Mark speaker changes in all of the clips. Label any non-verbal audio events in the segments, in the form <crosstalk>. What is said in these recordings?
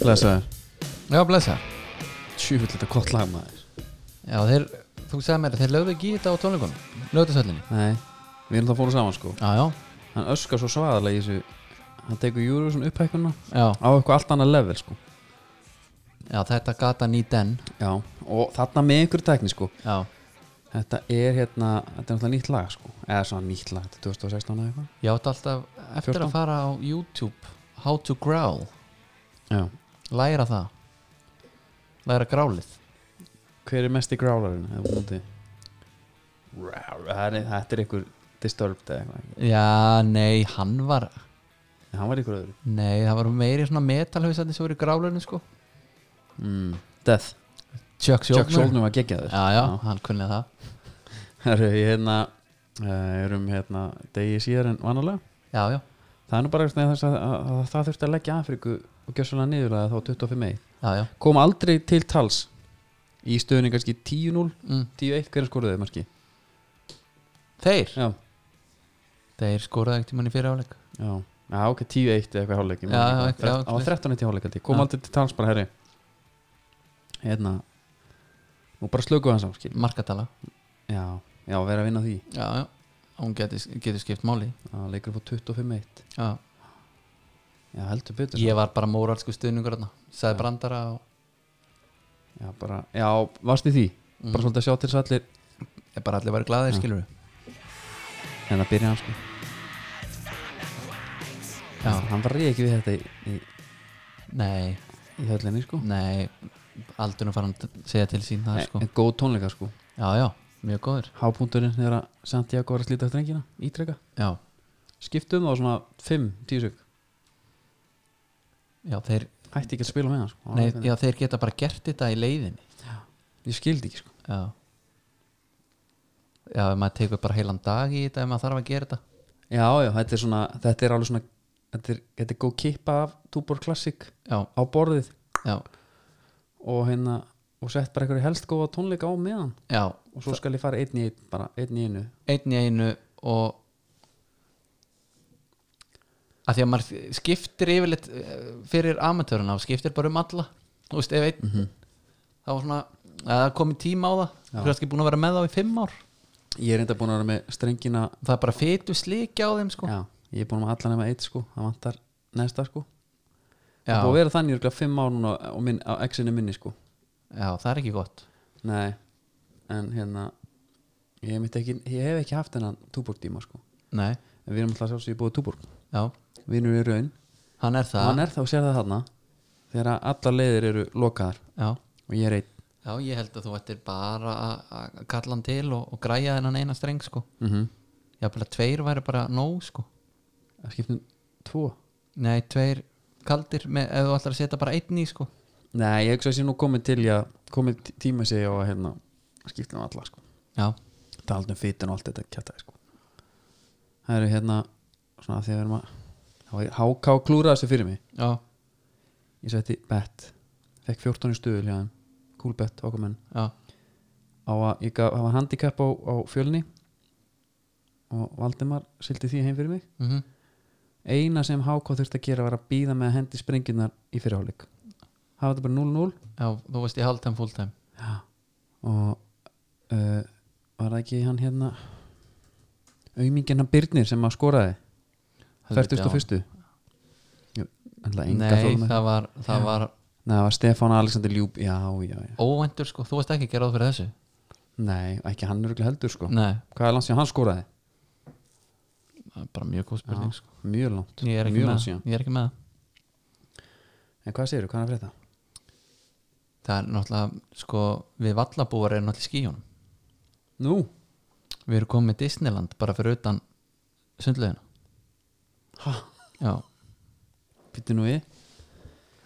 Speaker 1: Blesaður
Speaker 2: Já, blessa
Speaker 1: Sjúfull þetta gott lag maður
Speaker 2: Já, þeir, þú sagði mér að þeir lögðu ekki í þetta á tónleikunum Lögðisöllinni
Speaker 1: Nei Við erum það fóru saman sko
Speaker 2: Já, já,
Speaker 1: Hann öskar svo svaðalega í þessu Hann tekur Eurovision upphækkunna
Speaker 2: já,
Speaker 1: Á eitthvað allt annað level sko
Speaker 2: já, þetta gata ný den
Speaker 1: Já Og þarna með einhverju tækni sko
Speaker 2: Já,
Speaker 1: Þetta er hérna Þetta er náttúrulega nýtt lag sko Eða svona nýtt lag Þetta er 2016 eða eitthvað
Speaker 2: ég átti alltaf
Speaker 1: 14.
Speaker 2: eftir að fara á YouTube How to growl,
Speaker 1: Já
Speaker 2: læra það Læra grálið
Speaker 1: Hver er mest í grálarinn Ef þú múti Þetta er- þetta er einhver Disturbed eða eitthvað
Speaker 2: Já, nei, hann var
Speaker 1: En Hann var í ykkur öðru
Speaker 2: Nei, það var meiri svona metalhausandi sem voru í grálinu sko
Speaker 1: mm. Death
Speaker 2: Chuck
Speaker 1: Chuck
Speaker 2: Schuldner
Speaker 1: Schuldner var geggjaður
Speaker 2: Já, já, hann kunnið það
Speaker 1: Herru, ég hérna eh, erum hérna degi síðar en vanalega
Speaker 2: Já, já,
Speaker 1: það er nú bara einhvern veginn þess að, að, að það þurfti að leggja Afriku og gjör svolítið niðurlega þá 25 mei
Speaker 2: já, já
Speaker 1: kom aldrei til tals í stöðunni kannski 10-0
Speaker 2: mm.
Speaker 1: 10-1 hverja skoruðu marki
Speaker 2: Þeir,
Speaker 1: já,
Speaker 2: þeir skoraði ekkert í manni fyrir áleik
Speaker 1: já, já ok 10-1 eða eitthvað hálfleik
Speaker 2: Já, já, eitthvað, já,
Speaker 1: á 13-1 hálfleik held ég. kom
Speaker 2: Já.
Speaker 1: aldrei til tals bara herri hérna og bara slökuðu hans á skil
Speaker 2: Markatala
Speaker 1: já, já, vera að vinna á því
Speaker 2: Já, já, hún getur geti skipt máli
Speaker 1: að leikur fór 25-1
Speaker 2: já.
Speaker 1: já, heldur betur
Speaker 2: Ég var bara móralsku stuðningur þarna Sæði brandara og
Speaker 1: já, bara, já, varst í því bara svolítið að sjá til þess að allir
Speaker 2: mm. Ég bara allir væri glaðir, skilur við
Speaker 1: en það byrja hann sko
Speaker 2: Já,
Speaker 1: hann var ekki við þetta í, í,
Speaker 2: nei,
Speaker 1: í höllinni sko
Speaker 2: nei Aldurinn fara hann að segja til sín það
Speaker 1: Nei,
Speaker 2: sko
Speaker 1: en góð tónleika sko
Speaker 2: Já, já, mjög góður
Speaker 1: hápunkturinn þegar að Santiago var að slíta strengina ítreka
Speaker 2: Já,
Speaker 1: skiptum það á svona 5-10 sök
Speaker 2: já, þeir,
Speaker 1: hætti ekki að spila með hann sko
Speaker 2: nei,
Speaker 1: Hann-
Speaker 2: já, þeir geta bara gert þetta í leiðinni
Speaker 1: ég skildi ekki sko
Speaker 2: Já Já, ef maður tekur bara heilan dag í þetta ef maður þarf að gera þetta
Speaker 1: já já þetta er svona þetta er alveg svona þetta er, þetta er góð kippa af Tuborg Classic
Speaker 2: Já,
Speaker 1: á borðið
Speaker 2: já,
Speaker 1: og hérna og sett bara einhverju helst góða tónleika á meðan
Speaker 2: já
Speaker 1: og svo skal ég fara einn í einn bara einn í einu
Speaker 2: Einn í einu og að því að maður skiptir yfirleitt eh, fyrir amatöruna og skiptir bara um alla þú veist, ef einn þá var svona, að það komið tíma á það þú
Speaker 1: Mhm. Já.
Speaker 2: veist ekki búin að vera með þá í fimm ár
Speaker 1: ég er enda búin að vera með strengina
Speaker 2: það er bara fytu slíkja á þeim sko
Speaker 1: já ég er búin að allan nema eitt sko það vantar næsta sko
Speaker 2: já,
Speaker 1: Það er búið að vera þannig örgulega fimm ár núna og minn, á exinu minni sko
Speaker 2: já, það er ekki gott
Speaker 1: Nei, en hérna ég, hef einmitt ekki, ég hef ekki haft hennan túborg tíma sko
Speaker 2: nei,
Speaker 1: en við erum alltaf sjálfsög búið túborg
Speaker 2: já,
Speaker 1: við erum í raun,
Speaker 2: hann er
Speaker 1: og
Speaker 2: það
Speaker 1: hann er þá sér það þarna þegar að allar leiðir eru lokaðar
Speaker 2: já
Speaker 1: og ég er einn
Speaker 2: Já, ég held að þú ættir bara að- að kalla hann til og, og græja þennan eina streng sko
Speaker 1: mm -hmm.
Speaker 2: Jafnvel að tveir væri bara nóg sko
Speaker 1: skiptum tvo
Speaker 2: Nei, tveir kaldir með, ef þú ætlar að setja bara einn í sko
Speaker 1: Nei, ég hugsa að sé nú komið til ég komið tí- tíma sig á að hérna skiptum alla sko
Speaker 2: Já,
Speaker 1: talað um fytun og allt þetta kjátaði sko það eru hérna svona af því að við erum að þá er HK klúraði þessu fyrir mig
Speaker 2: já,
Speaker 1: ég setti bet fekk 14 í stuðul hjá þeim cool bet okkur menn
Speaker 2: já,
Speaker 1: á að ég gaf, hafa handicap á, á fjölni og Valdimar sildi því heim fyrir mig
Speaker 2: mhm
Speaker 1: eina sem HK þurfti að gera var að býða með að hendi sprenginnar í fyrirháleik hafa þetta bara 0-0
Speaker 2: Já, þú veist ég haldi hann full time
Speaker 1: og uh, var það ekki hann hérna aumingin hann Byrnir sem að skoraði
Speaker 2: Helviti,
Speaker 1: 41. Jú,
Speaker 2: já.
Speaker 1: ætla enga
Speaker 2: Nei,
Speaker 1: þolum-
Speaker 2: það var, það var
Speaker 1: Nei, það var Stefán Alexander Ljúb já, já, já,
Speaker 2: óvæntur sko Þú veist ekki að gera það fyrir þessu
Speaker 1: nei, ekki hann er heldur sko
Speaker 2: Nei,
Speaker 1: hvað er langt síðan hann skoraði?
Speaker 2: það er bara mjög góð spurning sko
Speaker 1: mjög langt,
Speaker 2: Ég er ekki
Speaker 1: mjög
Speaker 2: með
Speaker 1: langt
Speaker 2: það,
Speaker 1: síðan
Speaker 2: ég er ekki með það
Speaker 1: en hvað segirðu, hvað er að frétta?
Speaker 2: Það er náttúrulega, sko, við vallabúar erum náttúrulega í skíjónum
Speaker 1: nú,
Speaker 2: Við erum komið með Disneyland bara fyrir utan sundlaugina
Speaker 1: ha,
Speaker 2: Já,
Speaker 1: býttu nú við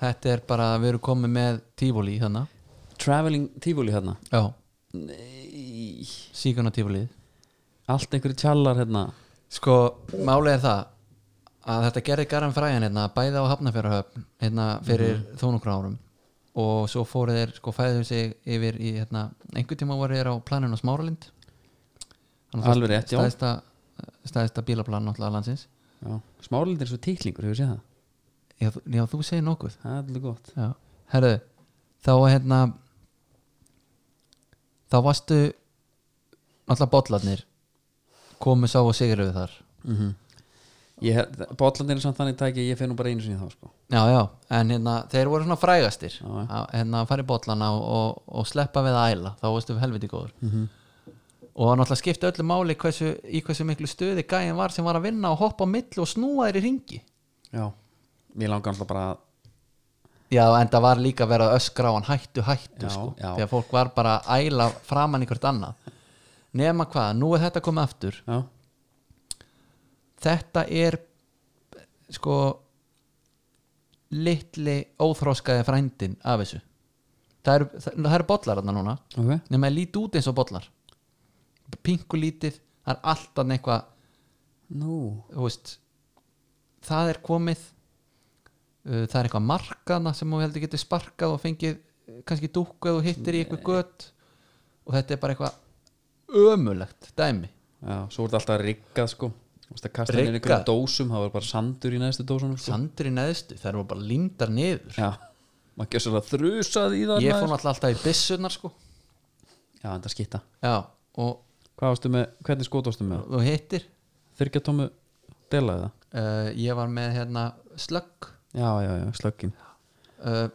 Speaker 2: þetta er bara, við erum komið með tífóli þannig
Speaker 1: traveling tífúli hérna
Speaker 2: Já,
Speaker 1: nei
Speaker 2: síkuna tífólið
Speaker 1: allt einhverju tjallar hérna
Speaker 2: Sko, málið er það að þetta gerði Garan Fræjan hérna bæði á Hafnafjörðahöfn hérna fyrir
Speaker 1: Mhm.
Speaker 2: mm. þó nokkur árum og svo fóru þeir, sko, fæðu sig yfir í, hérna, einhvern tíma voru þeir á planinu á Smáralind Þannig að
Speaker 1: Alveg rétt, já.
Speaker 2: stæðsta, stæðsta bílaplan náttúrulega landsins
Speaker 1: já. smálindir svo titlingur, hefur séð það?
Speaker 2: já, þú- já þú segir nokkuð
Speaker 1: það er alveg gott
Speaker 2: já. herðu, þá hérna þá varstu alltaf bollarnir komu sá og sigurðu þar
Speaker 1: mm -hmm. Bóllandin er samt þannig tæki að ég fer nú bara einu sinni í þá sko.
Speaker 2: já, já, en hérna, þeir voru svona frægastir
Speaker 1: Já, já.
Speaker 2: að hérna, að fara í bollana og, og, og sleppa við að æla, þá varstu helviti góður
Speaker 1: Mhm.
Speaker 2: og hann alltaf skipti öllu máli hversu, í hversu miklu stöði gæin var sem var að vinna og hoppa á milli og snúa þér í ringi
Speaker 1: Já, mér langar alltaf bara að
Speaker 2: Já, en það var líka verið að öskra á hann hættu, hættu
Speaker 1: Já,
Speaker 2: sko,
Speaker 1: já.
Speaker 2: þegar fólk var bara að æla framan í hvert annað nema hvað, nú er þetta komið aftur
Speaker 1: Já,
Speaker 2: þetta er sko litli óþroskaði frændin af þessu það eru, það, það eru bollar þarna núna
Speaker 1: ok
Speaker 2: nema ég líti út eins og bollar pinku lítið, það er alltaf eitthvað
Speaker 1: Nú,
Speaker 2: þú veist það er komið uh, það er eitthvað markana sem þú heldur getur sparkað og fengið uh, kannski dúkku eða þú hittir í eitthvað gött og þetta er bara eitthvað ömulegt dæmi
Speaker 1: já, svo er þetta alltaf riggað sko Þú veist að kasta
Speaker 2: Riggað?
Speaker 1: henni einhverjum dósum það var bara sandur í næstu dósunum sko.
Speaker 2: sandur í neðstu, það eru bara lindar niður
Speaker 1: Já, maður gjör svolítið þrusað í það
Speaker 2: ég fór
Speaker 1: maður.
Speaker 2: náttúrulega alltaf í byssunar sko
Speaker 1: Já, þetta skitta
Speaker 2: já, og
Speaker 1: Hvað varstu með, hvernig skot varstu með?
Speaker 2: þú hittir
Speaker 1: Þyrkjatómu delaði það?
Speaker 2: uh, ég var með hérna slögg
Speaker 1: Já, já, já, slöggin
Speaker 2: uh,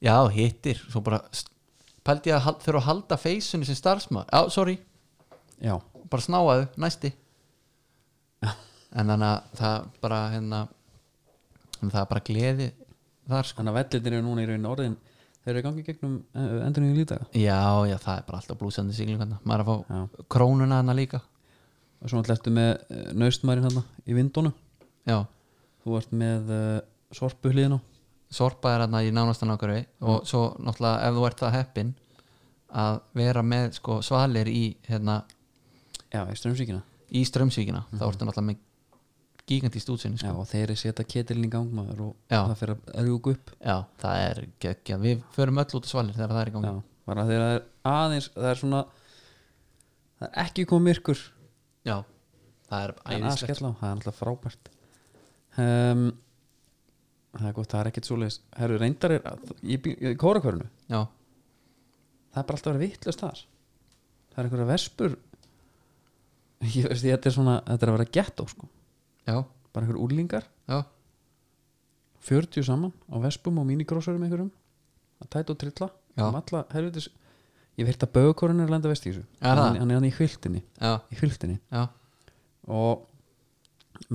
Speaker 2: já, hittir svo bara s- pældi ég að hal- þurfa að halda feysunni sem starfsmaður, já, sorry
Speaker 1: Já,
Speaker 2: bara snáaðu, næsti <laughs> en þannig að það bara hérna það er bara gleði þar sko
Speaker 1: þannig að vellitir eru núna í raun orðin Þeir eru í gangi gegnum eh, endur nýju lítaga
Speaker 2: já, já, það er bara alltaf blúsandi sigling hérna. maður er að fá
Speaker 1: Já.
Speaker 2: krónuna hérna líka
Speaker 1: Og svo alltaf ertu með naustmærin hann í vindunum
Speaker 2: já,
Speaker 1: Þú ert með uh, sorpu hliðina á.
Speaker 2: sorpa er hérna í nánastan okkur og svo náttúrulega ef þú ert það heppin að vera með sko svalir í hérna
Speaker 1: Já, í strömsíkina
Speaker 2: í strömsvíkina, þá ertu náttúrulega með gigantist útsinni sko.
Speaker 1: Já, og þeir setja ketilin í gang maður og
Speaker 2: Já.
Speaker 1: það fyrir að rjúka upp
Speaker 2: já. það er geggjað, við förum öll út á svalir þegar það er í gangi
Speaker 1: Já, bara þegar það er aðeins það er svona það er ekki komið myrkur
Speaker 2: já, það er
Speaker 1: en að
Speaker 2: æðislegt
Speaker 1: skella á, það er alltaf frábært um, Það er gott, það er ekkit svoleiðis Herru, reyndar er að, í, bí- í kórakvörinu
Speaker 2: já,
Speaker 1: það er bara alltaf að vera vittlust þar það er einhverja verspur ég veist, þetta er svona þetta er að vera gettó, sko
Speaker 2: já,
Speaker 1: bara einhverja úrlingar,
Speaker 2: já,
Speaker 1: 40 saman á vespum og mínikrossurum einhverjum að tæta og trilla
Speaker 2: Já.
Speaker 1: um alla, helvitis, ég veit að bögurinn er að lenda vest í þessu
Speaker 2: Er það?
Speaker 1: hann, hann er hann í hviltinni
Speaker 2: já,
Speaker 1: í hvilftinni
Speaker 2: já,
Speaker 1: og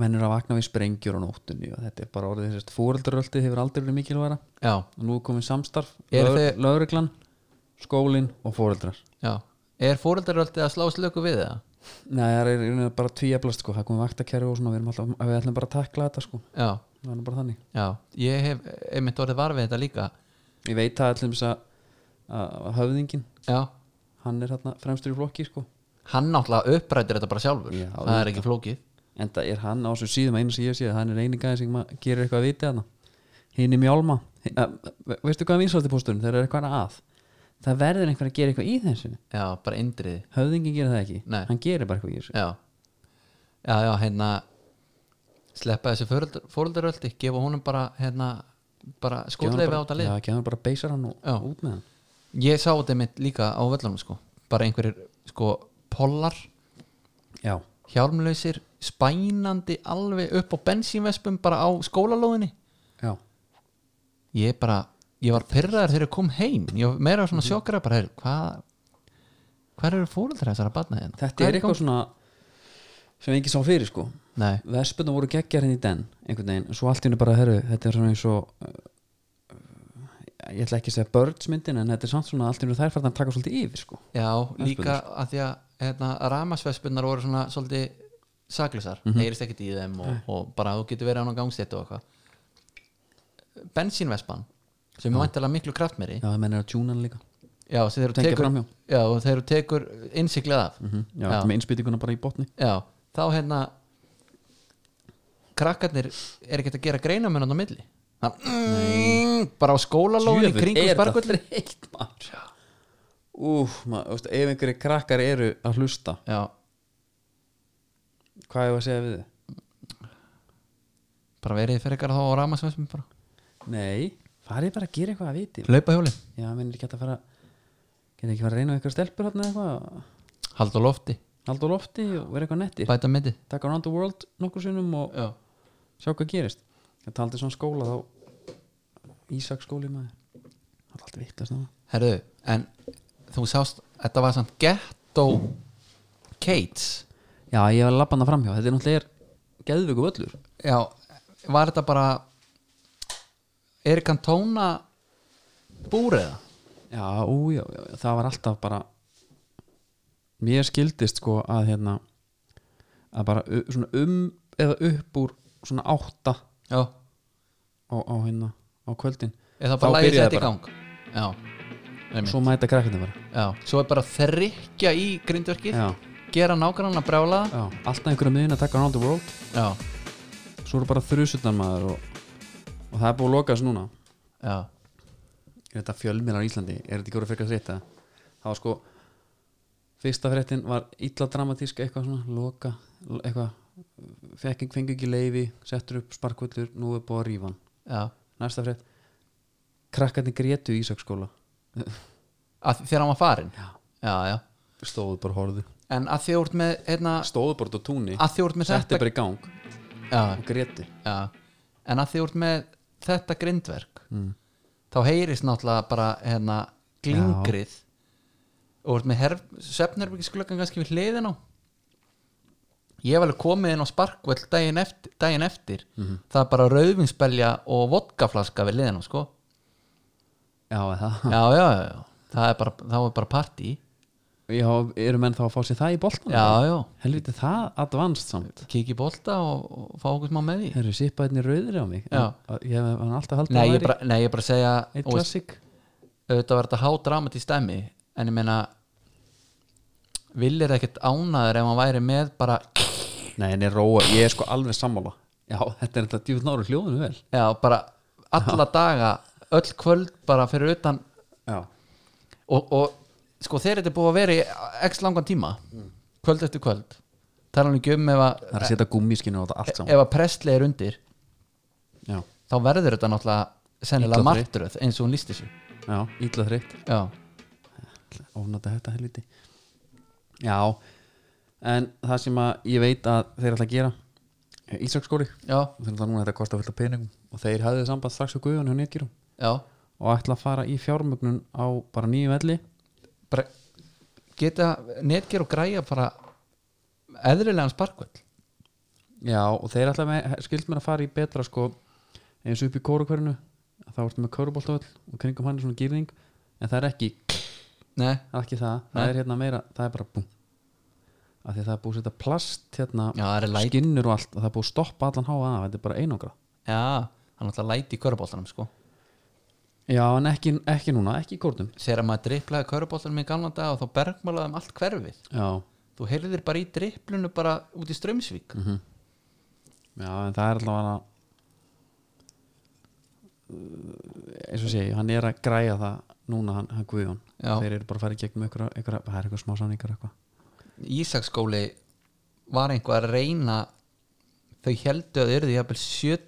Speaker 1: menn eru að vakna við sprengjur á nóttunni og þetta er bara orðið þessast fóreldaröldi hefur aldrei verið mikilværa
Speaker 2: já,
Speaker 1: og nú er komið samstarf,
Speaker 2: Eru
Speaker 1: lög,
Speaker 2: þið-
Speaker 1: lögreglan skólinn og fóreldrar
Speaker 2: já. Er fóreldaröldið að slá slöku við það?
Speaker 1: Nei, það er í rauninni bara tvíeflast sko, það er komið vaktakerfi og svona, við, erum alltaf, við ætlum bara að takla þetta sko,
Speaker 2: Já,
Speaker 1: það er nú bara þannig
Speaker 2: já, ég hef einmitt orðið varfið þetta líka
Speaker 1: Ég veit það allir þess að, að að höfðinginn,
Speaker 2: Já,
Speaker 1: hann er hérna fremstur í flokki sko,
Speaker 2: hann náttúrulega upprætir þetta bara sjálfur
Speaker 1: Já,
Speaker 2: Það er ekki flókið
Speaker 1: en það er hann á þessum síðum einu sem ég sé, hann er eini gæði sem ma- gerir eitthvað að viti hann hinn er mjálma, Hi- að- ve- veistu hvað vinsaldi pósturinn, þeir eru eitthvað að það verður einhver að gera eitthvað í þessu
Speaker 2: Já, bara indriði
Speaker 1: höfðingin gerir það ekki,
Speaker 2: Nei.
Speaker 1: hann gerir bara eitthvað í þessu
Speaker 2: Já, já, já, hérna Sleppa þessu fóreldaröldi Gefa honum bara, hérna Bara skotleifi á þetta lið
Speaker 1: Já, ekki hann bara beisar hann og
Speaker 2: Já.
Speaker 1: út með hann
Speaker 2: Ég sá þetta mitt líka á völlunum sko Bara einhverjir, sko, pollar
Speaker 1: Já,
Speaker 2: hjálmlausir, spænandi alveg upp á bensínvespum bara á skólalóðinni
Speaker 1: já,
Speaker 2: ég bara, ég var pyrraður þegar ég kom heim ég var meira svona
Speaker 1: Mhm.
Speaker 2: sjokkara bara heyrðu, hvað hvað eru fóröldra þessara batna hérna
Speaker 1: þetta er eitthvað svona sem engin sá fyrir sko
Speaker 2: nei,
Speaker 1: Vespunum voru geggjar henni í den einhvern veginn, svo allt í henni bara herru þetta er svona eins og uh, ég ætla ekki að segja börnsmyndin en þetta er samt svona allt í henni þær fært að taka svolítið yfir sko
Speaker 2: já, líka að því að hérna, ramasvespunar voru svona svolítið saklisar,
Speaker 1: Mhm.
Speaker 2: mm heyrist ekkert í þeim og, og bara þú getur verið án á gangstétt og eitthvað bensínvespan sem er mæntalega miklu kraftmeri
Speaker 1: Já, það mennir að tjúna hann líka
Speaker 2: já, sem þeir eru
Speaker 1: Tengja
Speaker 2: tekur,
Speaker 1: framhjá.
Speaker 2: já, og þeir eru tekur innsiklað af
Speaker 1: mm Já, já. með innspýtinguna bara í botni
Speaker 2: Já, þá hérna krakkarnir er ekkert að gera greina með hann á milli hann, mm, bara á skólalóðin í
Speaker 1: Djöfull,
Speaker 2: kringum
Speaker 1: er þetta
Speaker 2: sparkullir
Speaker 1: <laughs> þreytt, maður. Úf, maður, veist, ef einhverju krakkar eru að hlusta
Speaker 2: Já,
Speaker 1: hvað hefur að segja við þið?
Speaker 2: bara verið fyrir ykkar þá á rámasvössum bara
Speaker 1: Nei, farið bara að gera eitthvað að viti
Speaker 2: hlaupa hjóli,
Speaker 1: Já, mennir ekki hægt að fara Geta ekki fara að reyna á eitthvað stelpur hérna eitthvað
Speaker 2: halda á lofti
Speaker 1: Hald á lofti og vera eitthvað nettir
Speaker 2: bæta mitti
Speaker 1: Takk around the world nokkur sinnum og
Speaker 2: já.
Speaker 1: sjá hvað gerist Það taldi svona skóla þá Ísak skóli maður Það er alltaf vittlast núna
Speaker 2: herðu, en þú sást þetta var samt ghetto Kates
Speaker 1: Já, ég var að labba hana framhjá Þetta er náttúrulega er geðvöku völlur
Speaker 2: já, var þetta bara er kantóna búriða
Speaker 1: Já, ú, já, já, það var alltaf bara Mér skildist sko að hérna að bara u- svona um eða upp úr svona átta
Speaker 2: já,
Speaker 1: á, á hérna á kvöldin
Speaker 2: eða
Speaker 1: Þá
Speaker 2: bara lægið
Speaker 1: byrjaði
Speaker 2: þetta í
Speaker 1: bara.
Speaker 2: gang já, einmitt.
Speaker 1: Svo mæta krakkandi bara
Speaker 2: já svo er bara að þrykja í grindverkið
Speaker 1: Já,
Speaker 2: gera nákvæmlega brjála
Speaker 1: já, alltaf einhverja miðin að taka around the world
Speaker 2: já,
Speaker 1: Svo eru bara þrjusutnar maður og, og það er búið að loka þessu núna
Speaker 2: já,
Speaker 1: Er þetta fjölmiðlar á Íslandi? Er þetta ekki voru frekar frétta? Það var sko Fyrsta fréttin var illa dramatísk eitthvað svona Loka, eitthvað Fekk fengi ekki leifi, settur upp sparkvöldur Nú er búið að rífa hann
Speaker 2: já
Speaker 1: Næsta frétt Krakkarnir grétu í Ísaksskóla
Speaker 2: að þegar hann var farin já, já,
Speaker 1: Stóðu bara horðu
Speaker 2: en að því þú ert með hérna,
Speaker 1: Stóðu bara út á túnni
Speaker 2: að því þú ert með
Speaker 1: Setti
Speaker 2: þetta
Speaker 1: bara í gang
Speaker 2: já,
Speaker 1: og grétu
Speaker 2: já, en að því þú ert með þetta grindverk
Speaker 1: Mm.
Speaker 2: þá heyrist náttúrulega bara hérna, glingrið og ert með svefnherbyggjarsklökan kannski við hliðin á ég hef alveg komið inn á sparkvöld daginn eftir, daginn eftir.
Speaker 1: Mhm.
Speaker 2: það er bara rauðvinspelja og vodkaflaska við hliðin á sko
Speaker 1: Já, það
Speaker 2: já, já, já, já. það er bara, þá er bara partí
Speaker 1: Já, eru menn þá að fá sér það í boltan?
Speaker 2: já, já,
Speaker 1: Helviti það advanced samt
Speaker 2: kikið bolta og, og fá okkur smá með því
Speaker 1: Herru, sippaðinni rauðir á mig
Speaker 2: Já.
Speaker 1: En- Ég hef hann alltaf haldið
Speaker 2: Nei,
Speaker 1: að
Speaker 2: ég
Speaker 1: væri
Speaker 2: bara, nei, ég bara segja
Speaker 1: Eitt
Speaker 2: og veist,
Speaker 1: klassik
Speaker 2: auðvitað var þetta hádramat í stemmi en ég meina villir ekkert ánaður ef hann væri með bara,
Speaker 1: Nei, en ég róa, ég er sko alveg sammála Já, þetta er þetta djúfn náru hljóðinu vel
Speaker 2: já, bara alla daga, öll kvöld bara fyrir utan
Speaker 1: Já,
Speaker 2: og, og sko þeir þetta er búið að vera í x langan tíma
Speaker 1: Mm.
Speaker 2: kvöld eftir kvöld tala hann ekki um ef að,
Speaker 1: það er að setja gummiskinu á þetta allt saman
Speaker 2: ef að prestli er undir
Speaker 1: Já,
Speaker 2: þá verður þetta náttúrulega sennilega
Speaker 1: Illa fyrir.
Speaker 2: martröð eins og hún lísti sér
Speaker 1: já, ítla þreytt
Speaker 2: já,
Speaker 1: Ofnata þetta helviti Já, en það sem að ég veit að þeir ætla að gera Ísaksskóli
Speaker 2: já,
Speaker 1: Þeir ætla núna að þetta kosta fullt af peningum Og þeir hafði samband strax á guðan hjá netgjurum
Speaker 2: já
Speaker 1: Og ætla að fara í fjármögnun á bara nýju velli
Speaker 2: bara geta netger og græja bara eðrilegan sparkvöld
Speaker 1: Já, og þeir ætla með, skild mér að fara í betra sko, eins og upp í kórukverinu þá ertu með kóruboltavöll og kringum hann er svona gýrning en það er ekki,
Speaker 2: Nei,
Speaker 1: það er ekki það það er hérna meira, það er bara búm af því að það er búið að setja plast hérna,
Speaker 2: já, það er læti
Speaker 1: skinnur og allt og það er búið að stoppa allan háa af, þetta er bara einangra
Speaker 2: Já, það er náttúrulega læti í körubóltanum sko
Speaker 1: Já, en ekki, ekki núna, ekki í kórnum
Speaker 2: Þegar maður driplaði körubóltanum í gamla dag og þá bergmálaði um allt hverfið
Speaker 1: Já,
Speaker 2: Þú heyrðir bara í driplunu bara út í Strömsvík
Speaker 1: Mhm. já, en það er allavega Uh, eins og sé, hann er að græja það núna, hann, hann Guðjón
Speaker 2: Já.
Speaker 1: þeir eru bara að fara í gegnum ykkur, ykkur, það er eitthvað smá sanningar eitthvað
Speaker 2: Ísaksskóli var einhvað að reyna þau heldu að yrði jafnvel sjö-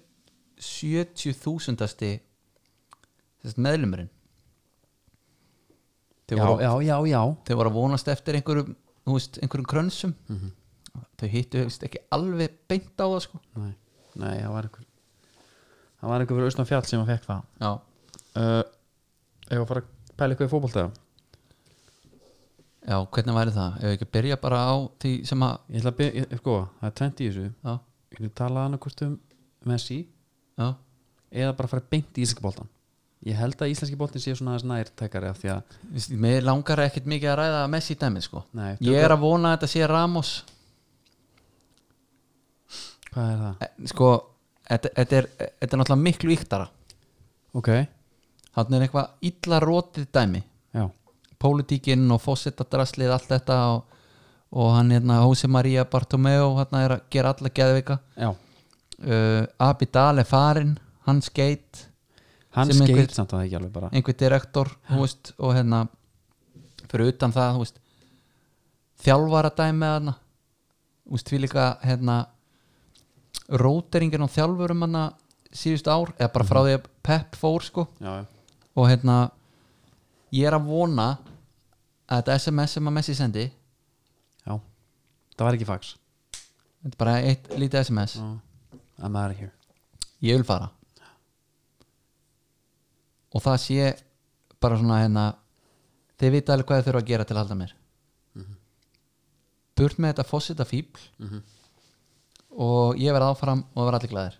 Speaker 2: 70.000 þessi meðlumurinn Þau
Speaker 1: já,
Speaker 2: voru-
Speaker 1: já, já, já
Speaker 2: þau voru að vonast eftir einhverjum, þú veist, einhverjum krönsum
Speaker 1: Mhm.
Speaker 2: þau hittu þú veist, ekki alveg beint á það sko.
Speaker 1: Nei, nei, það var einhver Það var einhver fyrir austan fjall sem að fekk það
Speaker 2: já,
Speaker 1: uh, Ef að fara að pæla eitthvað í fótbolta
Speaker 2: já, hvernig væri það ef við ekki byrja bara á því sem að
Speaker 1: Ég ætla að byrja, ég- sko, það er 20 í þessu
Speaker 2: já,
Speaker 1: Ég ætla að tala annarkvort um Messi
Speaker 2: já,
Speaker 1: Eða bara fara beint í íslenski boltan Ég held að íslenski boltin sé svona aðeins nærtækari af því að,
Speaker 2: Vist, mér langar ekkit mikið að ræða Messi dæmið sko
Speaker 1: nei,
Speaker 2: ég er að vona að þetta sé Ramos
Speaker 1: hvað er það?
Speaker 2: Eh, sko, þetta þetta er, þetta er náttúrulega miklu yktara
Speaker 1: Ok,
Speaker 2: þannig er eitthvað illa rótið dæmi
Speaker 1: já,
Speaker 2: pólitíkinn og fósittadraslið allt þetta og, og hann hérna Jose Maria Bartomeu hann er að gera alla geðvika
Speaker 1: já
Speaker 2: uh, Abidal er farinn hann skeitt,
Speaker 1: Hann
Speaker 2: Sem einhver-
Speaker 1: skeit samt að það ekki alveg bara
Speaker 2: einhver direktor þú veist, og hérna fyrir utan það þú veist, þjálfara dæmi þarna því líka hérna róteringin á þjálfurum hann síðust ár, eða bara frá því að Pep fór sko
Speaker 1: já, já,
Speaker 2: og hérna ég er að vona að þetta SMS sem að Messi sendi
Speaker 1: já það var ekki fax
Speaker 2: þetta er bara eitt lítið SMS
Speaker 1: Já. I'm out of here
Speaker 2: ég vil fara og það sé bara svona hérna þeir vita alveg hvað þeir þurfa að gera til að halda mér burt með þetta fósita fíbl og ég verð áfram og það verð allir glæðir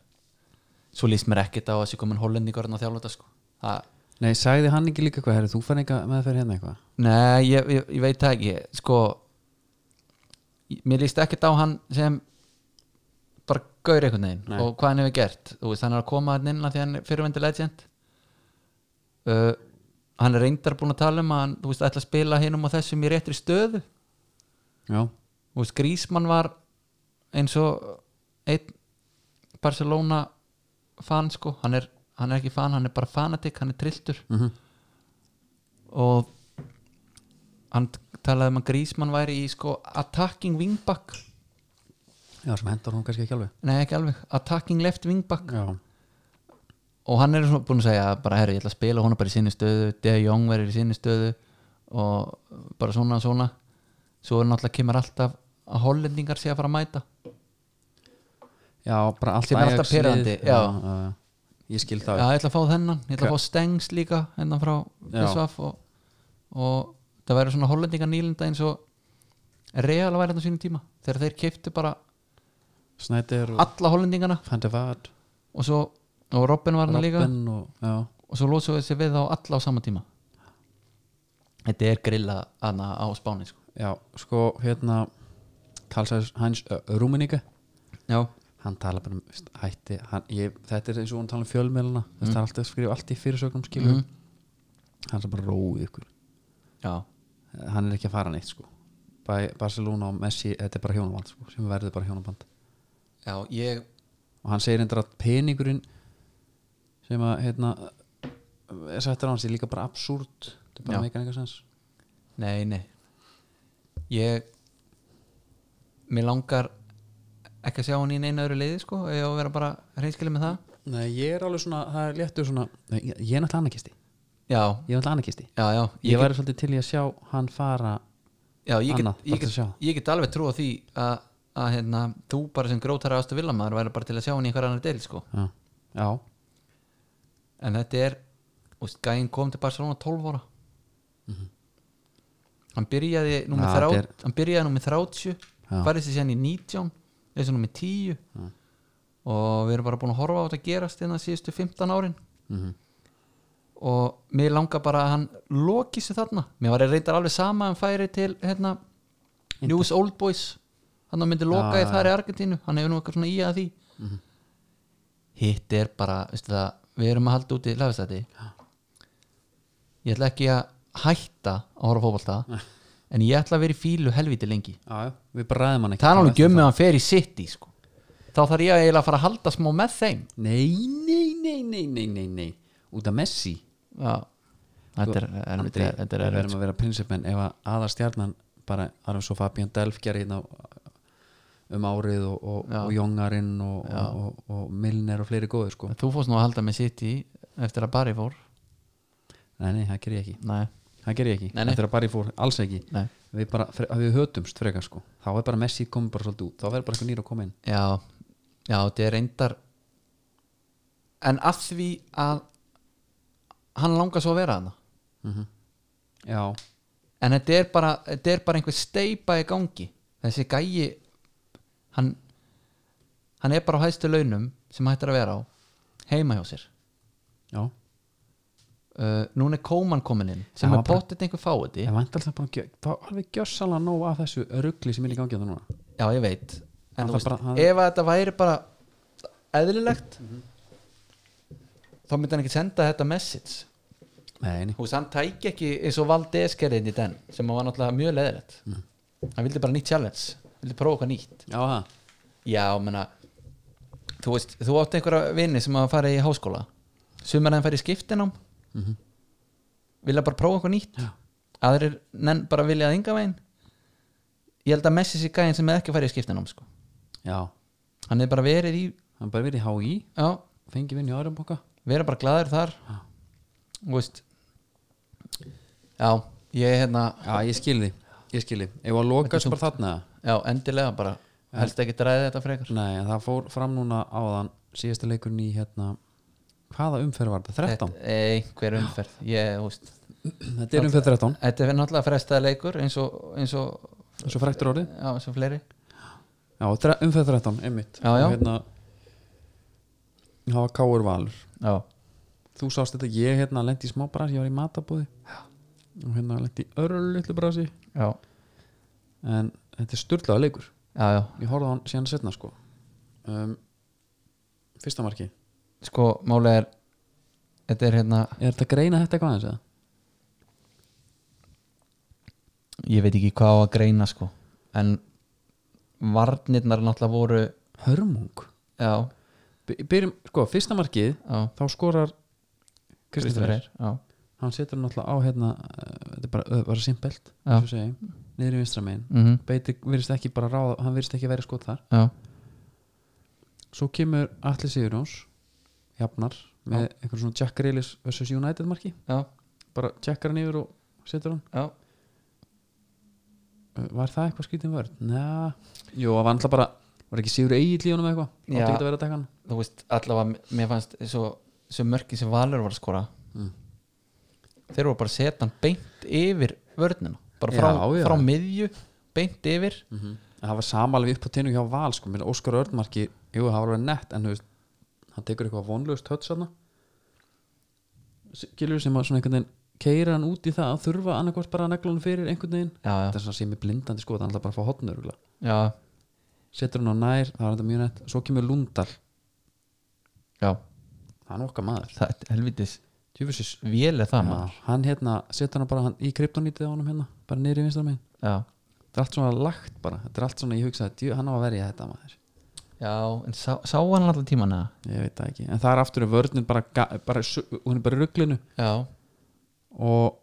Speaker 2: svo líst mér ekkert á að þessi komin hollendingur en að þjálfa þetta sko það,
Speaker 1: Nei, sagði hann ekki líka hvað, herri, þú fann eitthvað með að fyrir hérna eitthvað
Speaker 2: nei, ég, ég, ég veit það ekki sko mér líst ekkert á hann sem bara gaur einhvern veginn
Speaker 1: Nei.
Speaker 2: og hvað hann hefur gert þú veist, hann er að koma hann inn að því hann er fyrirvendi legend uh, hann er reyndar búin að tala um að hann, þú veist, ætla að spila hinum og þessum í réttri stöðu
Speaker 1: Já,
Speaker 2: þú veist, Grísmann var eins og einn Barcelona fan sko, hann er, hann er ekki fan hann er bara fanatik, hann er trilltur
Speaker 1: Mhm.
Speaker 2: og hann talaði um að Grísmann væri í sko attacking wingback
Speaker 1: já, sem hendar hún kannski ekki alveg
Speaker 2: nei ekki alveg, attacking left wingback
Speaker 1: Já,
Speaker 2: og hann er svona búin að segja bara herri, ég ætla að spila hona bara í sinni stöðu De Jong verður í sinni stöðu og bara svona og svona svo er náttúrulega kemur alltaf að hollendingar sé að fara að mæta
Speaker 1: já bara allt
Speaker 2: Sem er alltaf
Speaker 1: Ajax-lið.
Speaker 2: pirrandi, já.
Speaker 1: já, já. Ég skil það
Speaker 2: Já, ég ætla að fá þennan, ég ætla að fá Stengs líka hennan frá
Speaker 1: Já.
Speaker 2: PSV og, og það væri svona hollendingar nýlenda eins og reala væri þetta á sínum tíma þegar þeir keiptu bara
Speaker 1: Snæder og
Speaker 2: alla hollendingana
Speaker 1: Fandi Vard
Speaker 2: og svo, og Robin var hann líka
Speaker 1: Robben og Já,
Speaker 2: og svo lótsuðu þessi við á alla á sama tíma Þetta er grilla hana á Spáni sko.
Speaker 1: já, sko, hérna Karlsæs Hans uh, Rúmeníka
Speaker 2: Já,
Speaker 1: Hann tala bara um veist, hætti hann, ég, Þetta er eins og hún tala um fjölmélana mm. Það er alltaf að skrifa allt í fyrirsögnum skilur
Speaker 2: Mhm.
Speaker 1: Hann er bara róið ykkur
Speaker 2: já,
Speaker 1: Hann er ekki að fara neitt sko Bæ, Barcelona og Messi, þetta er bara hjónaband sko, sem verður bara hjónaband
Speaker 2: já ég
Speaker 1: og hann segir endur að peningurinn sem að hérna er sættur á hans er líka bara absúrt þetta er
Speaker 2: Já.
Speaker 1: bara meikar enga sens
Speaker 2: Nei, nei Ég Mér langar ekki að sjá hann í neina öðru leiði sko, ég á að vera bara reynskilið með það
Speaker 1: Nei, ég er alveg svona, það er léttur svona Nei, ég, ég er náttúrulega anarkisti
Speaker 2: Já,
Speaker 1: ég er náttúrulega anarkisti
Speaker 2: já, já
Speaker 1: ég,
Speaker 2: Ég,
Speaker 1: væri svolítið til í að sjá hann fara
Speaker 2: já, ég,
Speaker 1: annað,
Speaker 2: get,
Speaker 1: bara til
Speaker 2: ég,
Speaker 1: að
Speaker 2: get,
Speaker 1: sjá.
Speaker 2: ég get alveg trúa því að, að hérna, þú bara sem grótara ástu villamaður væri bara til að sjá hann í einhver annar deil sko.
Speaker 1: já, já,
Speaker 2: en þetta er, úst, gæinn kom til Barcelona 12 ára hann byrjaði númer
Speaker 1: Ja,
Speaker 2: þrát,
Speaker 1: Mhm. þetta er-
Speaker 2: hann byrjaði númer 30
Speaker 1: Já.
Speaker 2: færði sér sérna í 19 þessu númer 10 og við erum bara búin að horfa á þetta gerast innan síðustu 15 árin
Speaker 1: Mhm.
Speaker 2: og mér langar bara að hann loki sér þarna mér var reyndar alveg sama að hann færi til hérna, News Old Boys hann myndi loka
Speaker 1: Já, Mhm.
Speaker 2: í þar í Argentínu hann hefur nú eitthvað svona í að því hitt er bara veistu það, við erum að halda úti lafistæti ég ætla ekki að hætta að horfa á
Speaker 1: <laughs>
Speaker 2: fótbolta en ég ætla að vera í fílu helviti lengi
Speaker 1: já, já, við bara ræðum hann ekki
Speaker 2: það er alveg gjömmu að hann fer í city sko. þá þarf ég að eiginlega að fara að halda smá með þeim
Speaker 1: Nei, nei, nei, nei, nei, nei, nei út af Messi
Speaker 2: já þetta er, er,
Speaker 1: Sko, Andri,
Speaker 2: er, er, er,
Speaker 1: við
Speaker 2: er,
Speaker 1: verðum að vera prinsipmenn ef að aðarstjarnan bara Arfins og Fabian Delf gerir hérna á- um árið og, og, og Jóngarinn og, og, og, og Milner og fleiri góður sko
Speaker 2: þú fórst nú að halda með city eftir að Barry fór
Speaker 1: nei, nei, það gerir ég ekki
Speaker 2: nei,
Speaker 1: það gerir ég ekki,
Speaker 2: Nei, nei.
Speaker 1: þetta er bara ég fór alls ekki
Speaker 2: nei.
Speaker 1: við bara, fre- að við hötumst frekar sko þá er bara Messi komið bara svolítið út þá verður bara eitthvað nýra að koma inn
Speaker 2: Já, já, þetta er reyndar En að því að hann langar svo að vera hana
Speaker 1: já,
Speaker 2: En þetta er bara, þetta er bara einhver steipa í gangi Þessi gæi hann, hann er bara á hæstu launum sem hættir að vera á heima hjá sér
Speaker 1: já,
Speaker 2: uh, Núna er Kóman komin inn sem
Speaker 1: Já,
Speaker 2: er
Speaker 1: bara-
Speaker 2: pottet einhver fáiði
Speaker 1: ég vant alltaf bara að gjö- þá alveg gjössalega nóg af þessu ruggli sem er í gangi á það núna
Speaker 2: Já, ég veit En
Speaker 1: Hann
Speaker 2: þú
Speaker 1: þarf
Speaker 2: veist,
Speaker 1: bara- hann-
Speaker 2: ef að þetta væri bara eðlilegt
Speaker 1: Mhm.
Speaker 2: þá myndi hann ekki senda þetta message
Speaker 1: nei, nei,
Speaker 2: Þú veist, hann tæki ekki eins og valdi eskerðin í den sem var náttúrulega mjög leðilegt
Speaker 1: Mhm.
Speaker 2: hann vildi bara nýtt challenge, vildi prófa eitthvað nýtt
Speaker 1: já, það
Speaker 2: já, menna þú veist, þú átti einhverja vini sem að fara í háskóla sumar hann fara í skiptinám vilja bara prófa eitthvað nýtt
Speaker 1: Mhm. Já.
Speaker 2: aðrir nenn bara vilja að ynga veginn ég held að Messi sér gæðin sem er ekki að fara í skiptinám sko.
Speaker 1: já,
Speaker 2: hann er bara verið í
Speaker 1: hann bara verið í HÍ,
Speaker 2: já,
Speaker 1: fengi vinn í aðra boka
Speaker 2: vera bara glaður þar
Speaker 1: Já.
Speaker 2: Þú veist já, ég hérna
Speaker 1: já ég skil því, ég skil því ef að lokast bara þarna
Speaker 2: já, endilega bara, helst ekki dræði þetta frekar
Speaker 1: nei en það fór fram núna áðan síðasta leikurinn í hérna hvaða umferð var þetta? 13?
Speaker 2: Þetta- einhver umferð, ég, þú veist
Speaker 1: þetta er umferð 13,
Speaker 2: þetta er náttúrulega frestaði leikur eins og, eins og,
Speaker 1: svo fræktur orðið
Speaker 2: já, eins og fleiri
Speaker 1: já, þre- umferð 13, einmitt
Speaker 2: Já, já.
Speaker 1: Og hérna hafa káur valur
Speaker 2: já,
Speaker 1: þú sást þetta, ég hérna lendi í smá brasi, ég var í matabóði og hérna lendi í örlutlu brasi
Speaker 2: já,
Speaker 1: en þetta er styrlaða leikur
Speaker 2: já, já
Speaker 1: ég horfði á hann síðan setna sko um, fyrsta marki
Speaker 2: sko, málið er þetta er hérna,
Speaker 1: er þetta að greina þetta eitthvað aðeins eða?
Speaker 2: ég veit ekki hvað á að greina sko, en varnirnar náttúrulega voru
Speaker 1: hörmung
Speaker 2: já,
Speaker 1: By- byrjum, sko, fyrsta markið
Speaker 2: já,
Speaker 1: þá skorar
Speaker 2: Kristoffer
Speaker 1: Kristoffer
Speaker 2: Freyr, já,
Speaker 1: hann setur hann alltaf á hérna uh, þetta er bara, uh, bara simpelt
Speaker 2: Já.
Speaker 1: eins og segja, niður í vinstra megin
Speaker 2: mm
Speaker 1: Beitir virðist ekki bara ráða, hann virðist ekki verið skot þar
Speaker 2: já,
Speaker 1: svo kemur Atli Sigurjóns jafnar með einhvern svona Jack Grealish vs United marki
Speaker 2: já,
Speaker 1: bara tjekkar hann yfir og setur hann
Speaker 2: já
Speaker 1: Uh, var það eitthvað skrítin vörð? Næ, jú, það var alltaf bara var ekki Sigur Egil í honum eða eitthvað
Speaker 2: Já.
Speaker 1: átti ekki að vera að taka hann
Speaker 2: þú veist, allavega mér fannst svo, svo mörki sem Valur var að skora
Speaker 1: Mm.
Speaker 2: þeir voru bara að setja hann beint yfir vörnina, bara frá,
Speaker 1: Já, já.
Speaker 2: frá miðju beint yfir,
Speaker 1: En það var samalveg upp á tennu hjá Val sko, minn Óskar Örnmarki, jú, það var alveg nett en þú veist, hann tekur eitthvað vonlöst höll sann gilur sem að svona einhvern veginn keira hann út í það að þurfa annarkvort bara að negla hann fyrir einhvern veginn
Speaker 2: já, já,
Speaker 1: þetta er svona sem er blindandi sko, það er alltaf bara að fá hotnur
Speaker 2: já
Speaker 1: setur hann á nær, það var þetta mjög nett svo kemur Lundal,
Speaker 2: já,
Speaker 1: hann okkar maður
Speaker 2: það er helvitis
Speaker 1: Tjöfusins,
Speaker 2: vél er það maður,
Speaker 1: já, hann hérna, setur hann bara hann, í kryptonítið á honum hérna, bara niður í vinstra megin
Speaker 2: já,
Speaker 1: þetta er allt svona lagt bara þetta er allt svona, ég hugsaði, djú, hann á að verja þetta maður
Speaker 2: já en sá, sá hann allan tíman eða,
Speaker 1: ég veit það ekki, en það er aftur að vörnin bara, ga- bara, su- hún er bara í rugglinu
Speaker 2: já
Speaker 1: og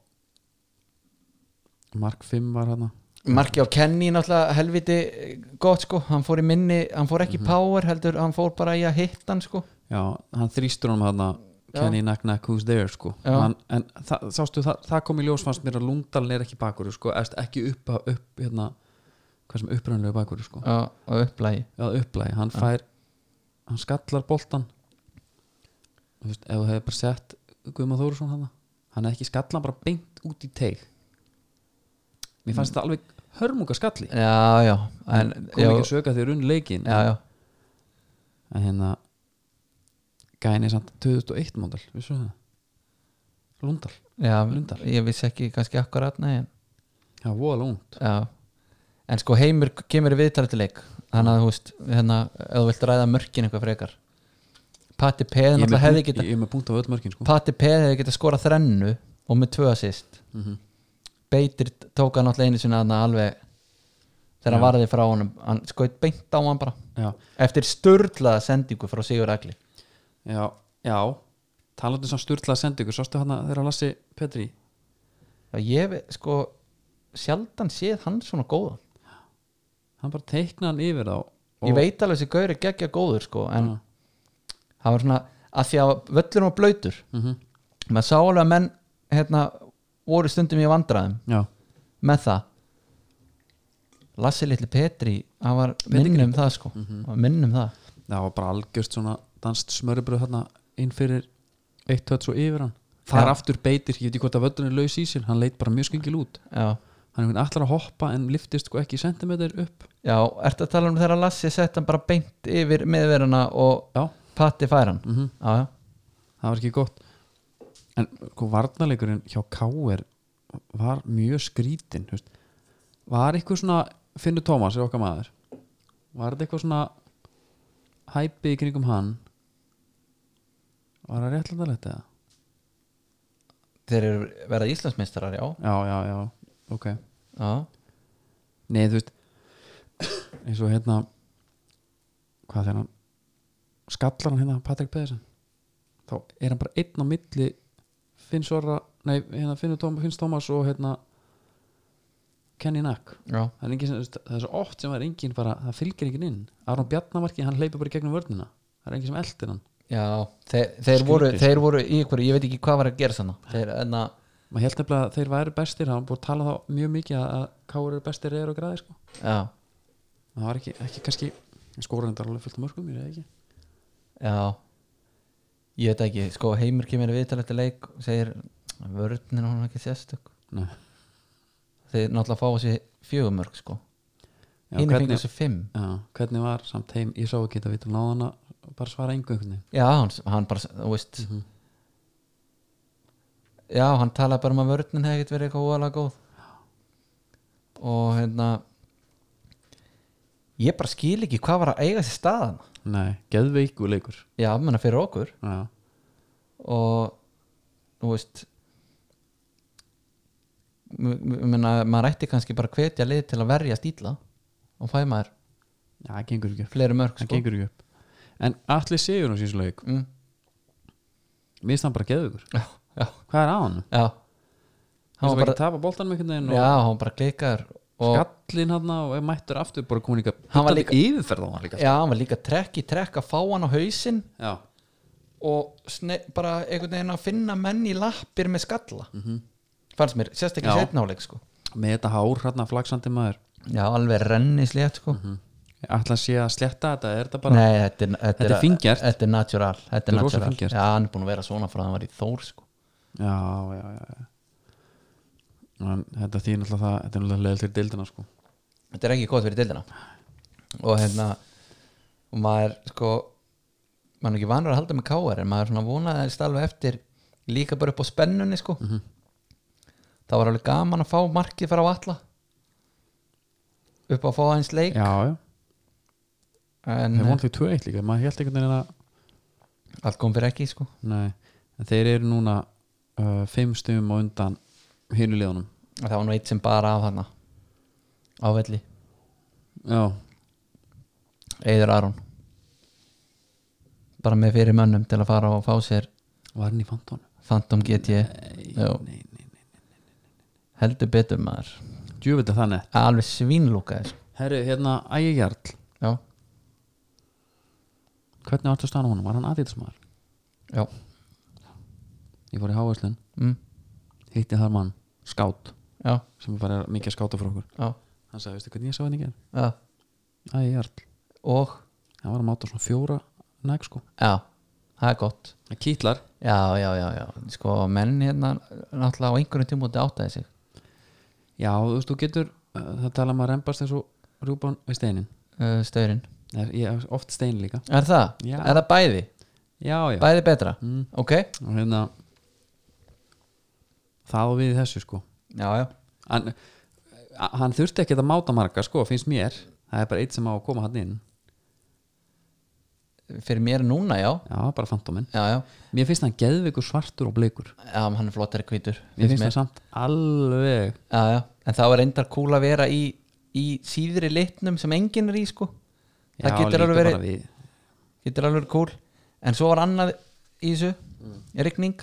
Speaker 1: Mark 5 var hann
Speaker 2: Marki á Kenny náttúrulega helviti eh, gott sko, hann fór í minni hann fór ekki í power heldur, hann fór bara í að hitta hann sko,
Speaker 1: já, hann þrýstur hann hann
Speaker 2: Já.
Speaker 1: Kenny Knack Knack Who's There sko
Speaker 2: Já.
Speaker 1: hann, en það, sástu, það, það kom í ljós fannst mér að Lundalinn er ekki bakur sko, eða ekki upp, upp hérna, hvað sem upprænlega bakur sko,
Speaker 2: já, og upplægi
Speaker 1: eða upplægi hann fær, hann skallar boltan þú veist, ef þú hefði bara sett Guðma Þórisson hann hann hefði ekki skallað hann bara beint út í teig mér fannst þetta alveg hörmunga skalli
Speaker 2: já, já, en
Speaker 1: kom
Speaker 2: já,
Speaker 1: ekki að söka þér unn leikin
Speaker 2: já, já,
Speaker 1: en hérna gæni er samt 2001 móndal vissu það Lundal,
Speaker 2: já
Speaker 1: Lundar.
Speaker 2: ég vissi ekki kannski akkurat nei, en,
Speaker 1: það var voða lúnt
Speaker 2: já. en sko heimur kemur í viðtaletileik þannig að þú veist, hérna, ef þú vilt ræða mörkin eitthvað frekar Patti
Speaker 1: ég,
Speaker 2: Peð
Speaker 1: er
Speaker 2: náttúrulega
Speaker 1: með
Speaker 2: hefði
Speaker 1: punkt-
Speaker 2: geta
Speaker 1: ég er með punkt á öll mörkin sko.
Speaker 2: Patti Peð hefði geta skorað þrennu og með tvö assist
Speaker 1: mm -hmm.
Speaker 2: Beitir tók hann alltaf einu sinna þarna alveg þegar hann varði frá honum hann skoði beint á hann bara
Speaker 1: já,
Speaker 2: eftir störlaða sendingu frá Sigur Agli
Speaker 1: já, já talandi sem styrla að senda ykkur sástu hana þegar Lassi Petri
Speaker 2: og ég ve- sko sjaldan séð hann svona góðan
Speaker 1: hann bara teikna hann yfir þá Ah,
Speaker 2: ég veit alveg þessi gaur er geggja góður sko en
Speaker 1: Já.
Speaker 2: það var svona að því að völlur var blöytur
Speaker 1: mm
Speaker 2: maður sá alveg að menn hérna, voru stundum í vandræðum
Speaker 1: já,
Speaker 2: með það Lassi litli Petri hann var minnum um það sko mm -hmm. minnum það
Speaker 1: það var bara algjörst svona danst smörbröð þarna inn fyrir eitt höll svo yfir hann þar
Speaker 2: Já.
Speaker 1: aftur beitir, ég veit ekki hvort að völlun er laus í sér hann leit bara mjög skengil út
Speaker 2: já,
Speaker 1: hann einhvern allar að hoppa en liftist sko ekki sentimeter upp
Speaker 2: já ertu að tala um þegar Lassi sett hann bara beint yfir meðveruna og
Speaker 1: já,
Speaker 2: patti fær hann
Speaker 1: mm
Speaker 2: já, já,
Speaker 1: það var ekki gott en sko varnarleikurinn hjá K.R. var mjög skrítin þú veist. var eitthvað svona Finnur Tómas er okkar maður var þetta eitthvað svona hæpi í kringum hann var það réttlætanlegt eða?
Speaker 2: þeir eru verða Íslandsmeistarar já,
Speaker 1: já, já, já, ok
Speaker 2: já,
Speaker 1: nei, þú veist eins og hérna hvað þegar hann skallar hann hérna Patrik Pedersen þá er hann bara einn á milli Finns Orra, nei, hérna Finnur Tómas, Finns Tómas og hérna Kenny Nack
Speaker 2: já,
Speaker 1: það er, engin, sem- það er svo oft sem það er engin bara, það fylgir engin inn Aron Bjarnamarki, hann hleypur bara í gegnum vörnina það er engin sem eldir hann
Speaker 2: já þeir, þeir, voru,
Speaker 1: Skrítið, sko.
Speaker 2: þeir voru í ykkur, ég veit ekki hvað var að gera sann þeir, hérna, en að,
Speaker 1: maður held nefnilega að þeir væri bestir hann búið að tala þá mjög mikið að- að káur eru bestir reyður og græðir sko.
Speaker 2: já,
Speaker 1: það var ekki, ekki kannski skóran þetta er alveg fullt af mörgum, ég reyði ekki
Speaker 2: já ég veit ekki, sko Heimur kemur að viðtala eftir leik og segir, vörðnin hún er ekki sérstök
Speaker 1: Nei.
Speaker 2: þeir náttúrulega fá þessi fjögumörk sko
Speaker 1: Já,
Speaker 2: hinn fengur
Speaker 1: hvernig,
Speaker 2: þessi fimm
Speaker 1: já, hvernig var samt heim, ég sá ekki þetta vitum náðan að bara svara engu einhvern veginn
Speaker 2: já, hann, hann bara, þú veist
Speaker 1: Mhm.
Speaker 2: já, hann talaði bara um að vörðnin hefði ekkert verið eitthvað óalega góð og hérna ég bara skil ekki hvað var að eiga sér staðan
Speaker 1: Nei, geðveiku leikur
Speaker 2: já, menna fyrir okkur
Speaker 1: já.
Speaker 2: og þú veist m- m- menna, maður ætti kannski bara að hvetja lið til að verja stíla og fæ maður
Speaker 1: já, það gengur ekki upp
Speaker 2: fleiri mörg
Speaker 1: það
Speaker 2: sko.
Speaker 1: gengur ekki upp en allir sigur á síðan leik
Speaker 2: mm,
Speaker 1: mér finnst hann bara geðveikur
Speaker 2: já, já,
Speaker 1: hvað er á hann?
Speaker 2: já
Speaker 1: hann
Speaker 2: hann
Speaker 1: var
Speaker 2: var
Speaker 1: ekki að tapa boltanum einhvern veginn
Speaker 2: bara, já,
Speaker 1: og
Speaker 2: hann var bara klikaður og
Speaker 1: skallin hann og ef mættur aftur bara komin líka
Speaker 2: Hann var
Speaker 1: bullandi
Speaker 2: líka-
Speaker 1: yfirferð á hann líka sko.
Speaker 2: já, hann var líka trekk í trekk að fá hann á hausinn
Speaker 1: já,
Speaker 2: og sne, bara einhvern veginn að finna menn í lappir með skalla fannst mér, sérstaklega
Speaker 1: Mhm. Já.
Speaker 2: setnáleik sko.
Speaker 1: með þetta hár hérna flaksandi maður
Speaker 2: já, alveg rennislétt
Speaker 1: Mhm.
Speaker 2: sko.
Speaker 1: ætla að sé að sletta þetta, er þetta bara
Speaker 2: Nei, þetta er, þetta
Speaker 1: Þetta er fíngert.
Speaker 2: Þetta er natural Þetta
Speaker 1: Þetta
Speaker 2: er
Speaker 1: er rosa
Speaker 2: natural
Speaker 1: fíngert.
Speaker 2: Já, hann er búin að vera svona frá að hann var í Þór sko.
Speaker 1: já, já, já, já. En þetta þýðir náttúrulega það þetta er náttúrulega leðil til deildina sko
Speaker 2: Þetta er ekki gott fyrir dildina Og hérna Og maður sko Maður er ekki vanur að halda með káar En maður er svona vonaðist alveg eftir Líka bara upp á spennunni sko
Speaker 1: Mhm.
Speaker 2: Það var alveg gaman að fá markið fyrir á alla Upp á að fá aðeins leik
Speaker 1: já, já,
Speaker 2: En
Speaker 1: þeir vonið því 2-1 líka maður held einhvern veginn að
Speaker 2: eh, allt kom fyrir ekki sko
Speaker 1: Nei, en þeir eru núna uh, fimm stumum og undan hinu liðunum
Speaker 2: Það var nú eitt sem bara af hana Ávelli
Speaker 1: Já,
Speaker 2: Eður Aron bara með fyrir mönnum til að fara og fá sér
Speaker 1: var hann í fantónu?
Speaker 2: Phantom GT
Speaker 1: Nei,
Speaker 2: Jú.
Speaker 1: nei, nei, nei.
Speaker 2: heldur betur maður
Speaker 1: Djúvill er það nett
Speaker 2: alveg svínlúka
Speaker 1: Herru, hérna, Ægi Jarl
Speaker 2: já,
Speaker 1: Hvernig vartu að stana honum? Var hann aðeinsmaður?
Speaker 2: já
Speaker 1: Ég fór í Hávæslun,
Speaker 2: mm,
Speaker 1: hitti þar mann Skát,
Speaker 2: já,
Speaker 1: sem bara er mikið að skáta fyrir okkur
Speaker 2: já,
Speaker 1: Hann sagði, veistu hvernig ég sá henni ekki
Speaker 2: já
Speaker 1: Ægi Jarl,
Speaker 2: og,
Speaker 1: hann var að máta svona fjóra Næg sko,
Speaker 2: já, það er gott
Speaker 1: hann kýtlar
Speaker 2: já, já, já, já, sko menn hérna náttúrulega á einhverjum tímúti áttaði sig
Speaker 1: Já, þú veist, þú getur, uh, það tala maður rembast eins og rjúpan við steinin
Speaker 2: uh, staurinn,
Speaker 1: Nei, Eh, Ég, Oft stein líka
Speaker 2: er það?
Speaker 1: Já.
Speaker 2: er það bæði?
Speaker 1: Já, já
Speaker 2: bæði betra?
Speaker 1: Mm.
Speaker 2: ok,
Speaker 1: og hérna það á við í þessu sko
Speaker 2: já, já
Speaker 1: hann, eh, hann þurfti ekki að máta marga sko finnst mér, það er bara eitt sem á að koma hann inn
Speaker 2: fyrir mér núna, já,
Speaker 1: já, bara fantóminn,
Speaker 2: já, já,
Speaker 1: mér finnst hann geðveikur svartur og bleikur,
Speaker 2: já hann er flottari hvítur
Speaker 1: mér finnst það samt alveg
Speaker 2: já, já. en þá er reyndar kúl að vera í, í síðri litnum sem enginn er í sko það
Speaker 1: Já,
Speaker 2: getur,
Speaker 1: líka
Speaker 2: alveg verið,
Speaker 1: bara við,
Speaker 2: getur alveg verið kúl en svo var annað í þessu rigning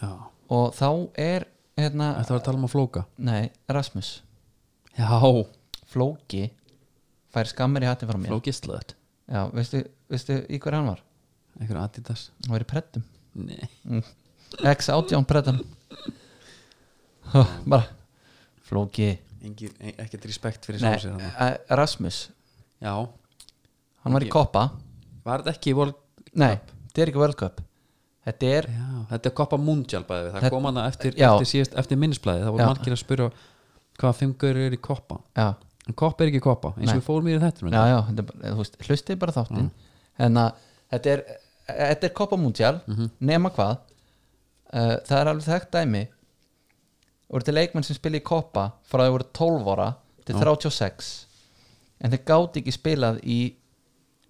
Speaker 1: já,
Speaker 2: og þá er hérna,
Speaker 1: þetta var að tala um að flóka
Speaker 2: nei, Rasmus
Speaker 1: já,
Speaker 2: Flóki fær skammir í hattin frá mér
Speaker 1: flókið slöð
Speaker 2: já, veistu, veistu í hver hann var?
Speaker 1: einhver Adidas
Speaker 2: hann var í prettum
Speaker 1: Nei.
Speaker 2: X-18 prettum bara Flóki
Speaker 1: Engir, e- ekkert respekt fyrir
Speaker 2: nei,
Speaker 1: sjálf sér þarna.
Speaker 2: eh, Rasmus,
Speaker 1: já,
Speaker 2: hann var í koppa
Speaker 1: var þetta ekki í World
Speaker 2: Nei, þetta er ekki World Cup Þetta er,
Speaker 1: Já, þetta er Copa Mundial bæði við það
Speaker 2: Þetta-
Speaker 1: kom hann eftir,
Speaker 2: Já.
Speaker 1: eftir, síðast, eftir minnisblæði það voru
Speaker 2: Já.
Speaker 1: margir að spyrja hvaða fimm gaur eru í Copa
Speaker 2: já,
Speaker 1: en Copa er ekki Copa, eins og
Speaker 2: Nei.
Speaker 1: við fórum í þetta
Speaker 2: já, já þetta er bara- þú veist, hlustið bara þáttinn En að þetta er, þetta er Copa Mundial
Speaker 1: Mhm.
Speaker 2: nema hvað uh, Það er alveg þekkt dæmi og þetta er leikmenn sem spila í Copa frá að þau voru 12 ára til 36 en þeir gáti ekki spilað í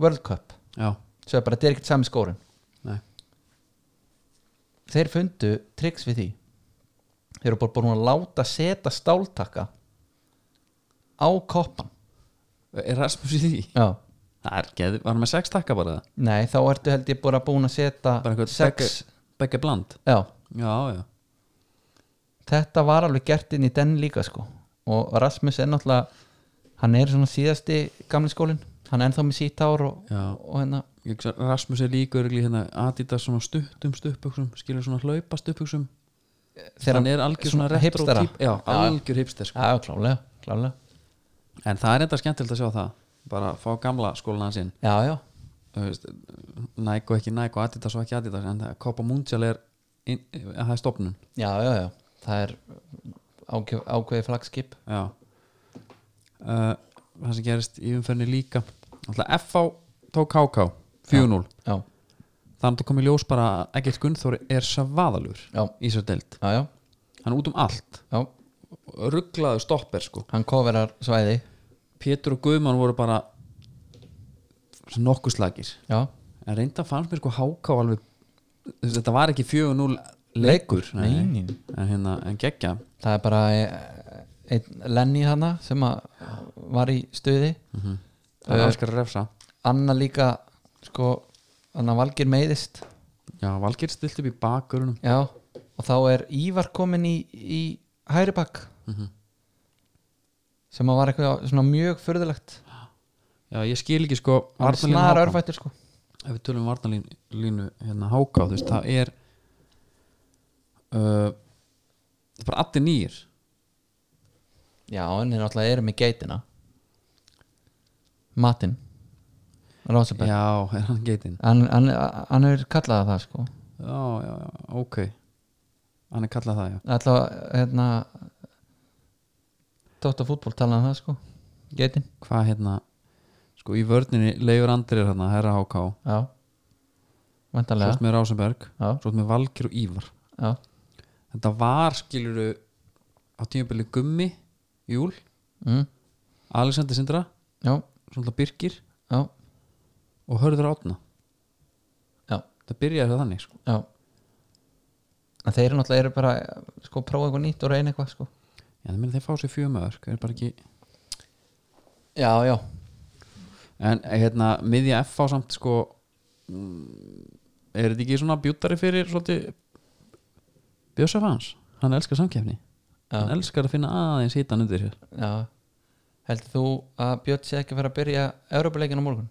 Speaker 2: World Cup
Speaker 1: já,
Speaker 2: svo er bara, þetta er ekkert sami skórin
Speaker 1: nei,
Speaker 2: Þeir fundu triks við því Þeir eru bara búin að láta setja stáltaka á koppan
Speaker 1: er Rasmus í því?
Speaker 2: Já
Speaker 1: það er geð, var hann með sex takka bara það
Speaker 2: Nei, þá ertu held ég bara búin að setja
Speaker 1: bara einhvern
Speaker 2: sex
Speaker 1: begge bland
Speaker 2: Já,
Speaker 1: já, já,
Speaker 2: þetta var alveg gert inn í den líka sko og Rasmus er náttúrulega hann er svona síðasti gamli skólin hann er ennþá með sítt ár og,
Speaker 1: Já.
Speaker 2: og hérna
Speaker 1: Ég hugsa, Rasmus er líka örgli hérna Adidas svona stuttum stupuksum skilur svona hlaupa stupuksum
Speaker 2: þegar
Speaker 1: hann er algjör svona
Speaker 2: svona
Speaker 1: retro
Speaker 2: hipstera.
Speaker 1: típ- já,
Speaker 2: Já.
Speaker 1: algjör hipster sko.
Speaker 2: já, klálega, klálega
Speaker 1: en það er enda skemmtilegt að sjá það bara að fá gamla skólan hans inn
Speaker 2: já, já,
Speaker 1: Þú veist, Nike og ekki Nike og Adidas og ekki Adidas en það Copa Mundial er inn, að það er stopnun
Speaker 2: já, já, já það er ákveð, ákveði flagskip
Speaker 1: já uh, það sem gerist í umferðinni líka alltaf FH tók KK 4-0
Speaker 2: já,
Speaker 1: þannig að komið ljós bara að Egil Gunnþóri er svaðalur
Speaker 2: já,
Speaker 1: í sér deild
Speaker 2: já, já,
Speaker 1: hann er út um allt
Speaker 2: já
Speaker 1: rugglaðu stopper sko
Speaker 2: hann koverar svæði
Speaker 1: Pétur og Guðmann voru bara nokkuð slagir
Speaker 2: já,
Speaker 1: en reynda fannst mér sko háká alveg þú veist, þetta var ekki 4-0 leikur
Speaker 2: nei, nei.
Speaker 1: en hérna, en geggja
Speaker 2: það er bara eh, einn Lenny hana sem að var í stuði
Speaker 1: það er elskar að refsa
Speaker 2: Anna líka sko, hann að Valgir meiðist
Speaker 1: já, Valgeir stilt upp í bakgrunum
Speaker 2: já, og þá er Ívar komin í, í hægri bakk
Speaker 1: Mhm.
Speaker 2: sem að var eitthvað svona mjög furðulegt
Speaker 1: já, ég skil ekki sko
Speaker 2: hann
Speaker 1: varnarlínu
Speaker 2: snar
Speaker 1: HK.
Speaker 2: örfættur sko
Speaker 1: ef við tölum um varnarlínu hérna háká, þú veist, það er uh, það er bara allir nýjir
Speaker 2: já, en þeir náttúrulega eru með geitina Matin Rosenberg
Speaker 1: já, er hann geitinn
Speaker 2: hann, hann, hann er kallað það sko
Speaker 1: já, já, já, ok hann er kallað það, já
Speaker 2: Alltaf hérna Dóttar fútból talaði um það sko Geitin
Speaker 1: hvað hérna, sko í vörninni Leifur Andri er hérna, herra háká
Speaker 2: Já
Speaker 1: svo
Speaker 2: Væntanlega
Speaker 1: ert með Rásenberg,
Speaker 2: Já,
Speaker 1: svo ert með Valgeir og Ívar
Speaker 2: já,
Speaker 1: þetta var skiluru á tímabili Gummi Júl,
Speaker 2: mm,
Speaker 1: Alexander Sindra
Speaker 2: já,
Speaker 1: svona Birgir
Speaker 2: já,
Speaker 1: og Hörður Átna
Speaker 2: Já.
Speaker 1: það byrjaði það þannig sko.
Speaker 2: já En þeir eru náttúrulega eru bara sko prófa eitthvað nýtt og reyna eitthvað sko
Speaker 1: já, það meina þeir fá sér fjömaður er bara ekki
Speaker 2: Já, já,
Speaker 1: en eh, hérna, miðja F á samt sko mm, er þetta ekki svona bjúttari fyrir svolítið Bjösa Fans hann elskar samkeppni hann
Speaker 2: já,
Speaker 1: elskar að finna aðeins hitan undir sér
Speaker 2: já. Heldur þú að Björn sé ekki að fara að byrja Európa-leikin á morgun?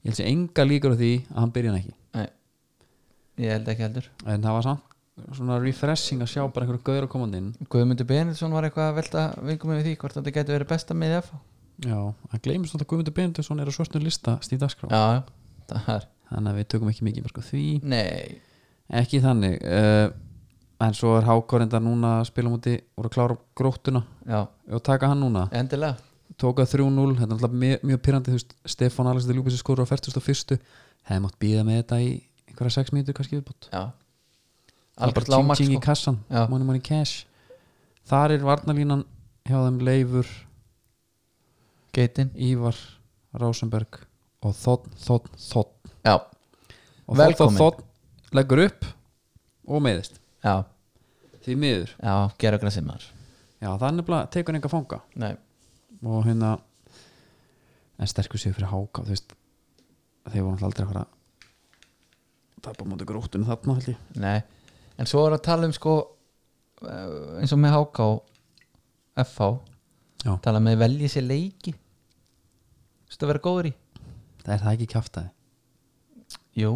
Speaker 1: ég held sér enga líkur á því að hann byrja hann ekki
Speaker 2: Nei, ég held ekki heldur
Speaker 1: en það var samt svona refreshing að sjá bara einhverju gauður að koma inn
Speaker 2: Guðmundur Benilsson var eitthvað að velta vingum yfir því hvort þetta gæti verið besta með FH
Speaker 1: já, hann gleymist alltaf Guðmundur Benedusson er á svörtnu lista stíð dagskrá
Speaker 2: Já, já, það er
Speaker 1: þannig að við tökum ekki mikið marka því
Speaker 2: Nei,
Speaker 1: ekki þannig uh, en svo er Hákor enda núna að spila múti voru að klára gróttuna
Speaker 2: já,
Speaker 1: og taka hann núna
Speaker 2: endilega
Speaker 1: tóka 3-0, þetta er alltaf mjög, mjög pyrrandi þú veist, Stefán Alexander Ljúbis skorur á 41 hefði mátt býða með þetta í einhverja 6 mínútur kannski viðbútt
Speaker 2: já.
Speaker 1: Albert
Speaker 2: Albert
Speaker 1: Lámark
Speaker 2: Lámark
Speaker 1: Ching
Speaker 2: sko.
Speaker 1: í kassan,
Speaker 2: Já.
Speaker 1: money money cash þar er varnalínan hjá þeim Leifur,
Speaker 2: Geitin
Speaker 1: Ívar Rásenberg og Þotn, Þotn, Þotn
Speaker 2: já.
Speaker 1: og
Speaker 2: Velkomin.
Speaker 1: Þotn, Þotn leggur upp og meðist
Speaker 2: já,
Speaker 1: því miður,
Speaker 2: já, gera okkur að sem maður
Speaker 1: já það er nefnilega tekur enga fanga
Speaker 2: Nei.
Speaker 1: og hérna en sterkur séu fyrir háka þú veist, þeir voru náttúrulega aldrei að fara það er bara mútið gróttunum þarna held ég
Speaker 2: Nei. en svo er að tala um sko eh, eins og með HK FH,
Speaker 1: Já.
Speaker 2: tala með velja sér leiki Vistu að vera góður í
Speaker 1: það er það ekki kjaftaði
Speaker 2: Jú,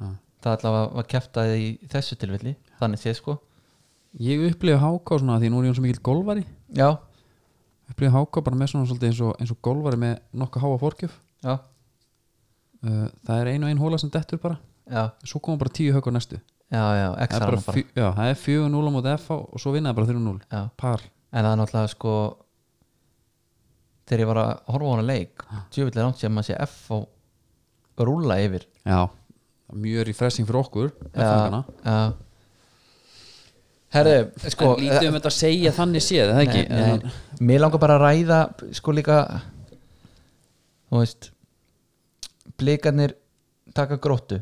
Speaker 1: Já.
Speaker 2: það allavega var kæftaði í þessu tilvilli, þannig sé sko
Speaker 1: ég upplifa háka svona því nú er ég eins og mikill golvari
Speaker 2: Já,
Speaker 1: upplifa háka bara með svona svolítið eins og, eins og golvari með nokka háa fórgjöf
Speaker 2: já,
Speaker 1: uh, það er ein og ein hóla sem dettur bara
Speaker 2: já,
Speaker 1: svo koma bara tíu högg á næstu
Speaker 2: já, já
Speaker 1: það
Speaker 2: extra
Speaker 1: er,
Speaker 2: bara
Speaker 1: bara fjö, já, það er 4-0 á móti FH og svo vinnaði bara 3-0
Speaker 2: já.
Speaker 1: par
Speaker 2: en það er náttúrulega sko þegar ég var að horfa á hana leik djöfullir langt sem að sé F og rúla yfir
Speaker 1: já, mjög refreshing fyrir okkur
Speaker 2: Já, já. herðu sko eh,
Speaker 1: um þetta að segja þannig séð það
Speaker 2: nei, nei, mér langar bara að ræða sko líka þú veist blikarnir taka gróttu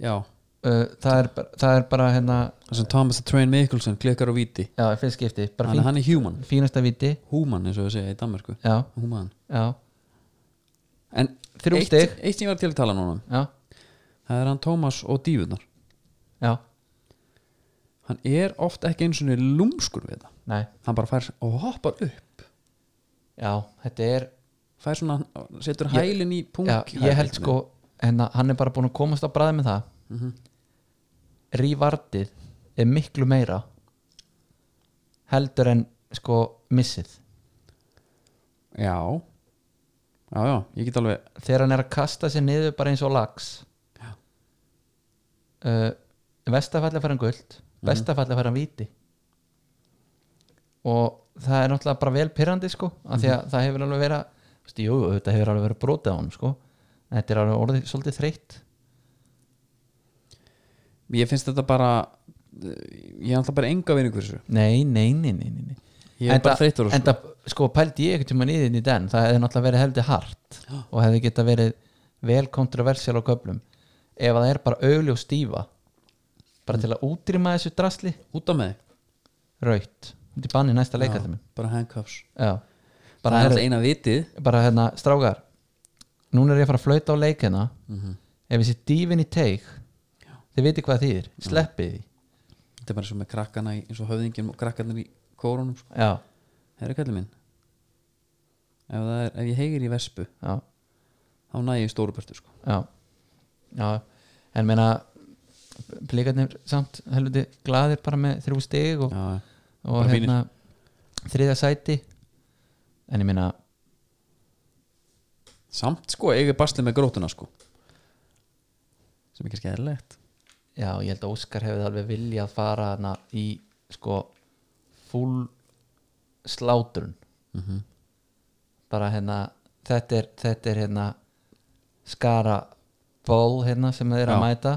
Speaker 1: já,
Speaker 2: uh, það, er, bara- það er bara hérna
Speaker 1: það sem Thomas the Train Mikkelsen klikkar á viti
Speaker 2: já, fyrst skipti, bara
Speaker 1: hann,
Speaker 2: fín,
Speaker 1: hann er human,
Speaker 2: fínasta viti
Speaker 1: human eins og við segja í Danmarku
Speaker 2: já,
Speaker 1: human.
Speaker 2: já,
Speaker 1: en
Speaker 2: Þrjú
Speaker 1: eitt,
Speaker 2: stig.
Speaker 1: eitt sem ég var til að tala núna um,
Speaker 2: já,
Speaker 1: það er hann Thomas og dífunar
Speaker 2: já
Speaker 1: hann er oft ekki eins og lúmskur við það
Speaker 2: nei,
Speaker 1: hann bara fær og hoppar upp
Speaker 2: já, þetta er
Speaker 1: fær svona, setur
Speaker 2: Ég-
Speaker 1: hælinn í punk
Speaker 2: já, ég held sko, hérna, hann er bara búin að komast á bræði með það mm
Speaker 1: Mhm.
Speaker 2: rífardið er miklu meira heldur en sko missið
Speaker 1: já, já, já, ég get alveg
Speaker 2: þegar hann er að kasta sér niður bara eins og lax
Speaker 1: Já.
Speaker 2: uh, vestafalli fær hann guld bestafalli fær hann víti og það er náttúrulega bara vel pyrrandi sko af því að það hefur alveg verið þú veist, jú, þetta hefur alveg verið brotið á hann sko en þetta er alveg orðið svolítið þreytt
Speaker 1: ég finnst þetta bara eh, ég er alltaf bara enga vinningu fyrir þessu
Speaker 2: nei, nei, nei, nei, nei. nei.
Speaker 1: Ég er bara þreyttur á þessu.
Speaker 2: en það, sko, pældi ég ekkert tíma nýðin í den það hefði náttúrulega verið heldur hart og hefði geta verið vel kontroversial á köflum ef það er bara augli og stífa bara til að útrýma þessu drasli
Speaker 1: út af með þig
Speaker 2: raut, þetta er banni næsta
Speaker 1: Já,
Speaker 2: leikallum
Speaker 1: bara handcuffs
Speaker 2: já,
Speaker 1: bara
Speaker 2: bara,
Speaker 1: það er
Speaker 2: heru,
Speaker 1: alltaf eina vitið
Speaker 2: bara hérna strágar núna er ég að fara að flauta á leikina
Speaker 1: Mhm.
Speaker 2: ef þessi dífin í teik þið viti hvað það þýðir, sleppið því
Speaker 1: þetta er bara eins og með krakkana í, eins og höfðingin og krakkarnir í kórunum sko.
Speaker 2: já,
Speaker 1: herru kallið minn ef, það er, ef ég heigir í vespu
Speaker 2: já
Speaker 1: þá næ ég í stóru börtu sko.
Speaker 2: já, já en meina blíkarnir samt helviti glaðir bara með þrjú stig og,
Speaker 1: já,
Speaker 2: og
Speaker 1: bara
Speaker 2: hérna þriðja sæti en ég meina
Speaker 1: samt sko, ég er baslið með grótuna sko sem ekki er skæðilegt
Speaker 2: já, ég held að Óskar hefði alveg viljað fara hana í sko full slátrun
Speaker 1: Mhm.
Speaker 2: bara hérna þetta er, þetta er hérna skara ból hérna sem þeir eru að
Speaker 1: Já.
Speaker 2: mæta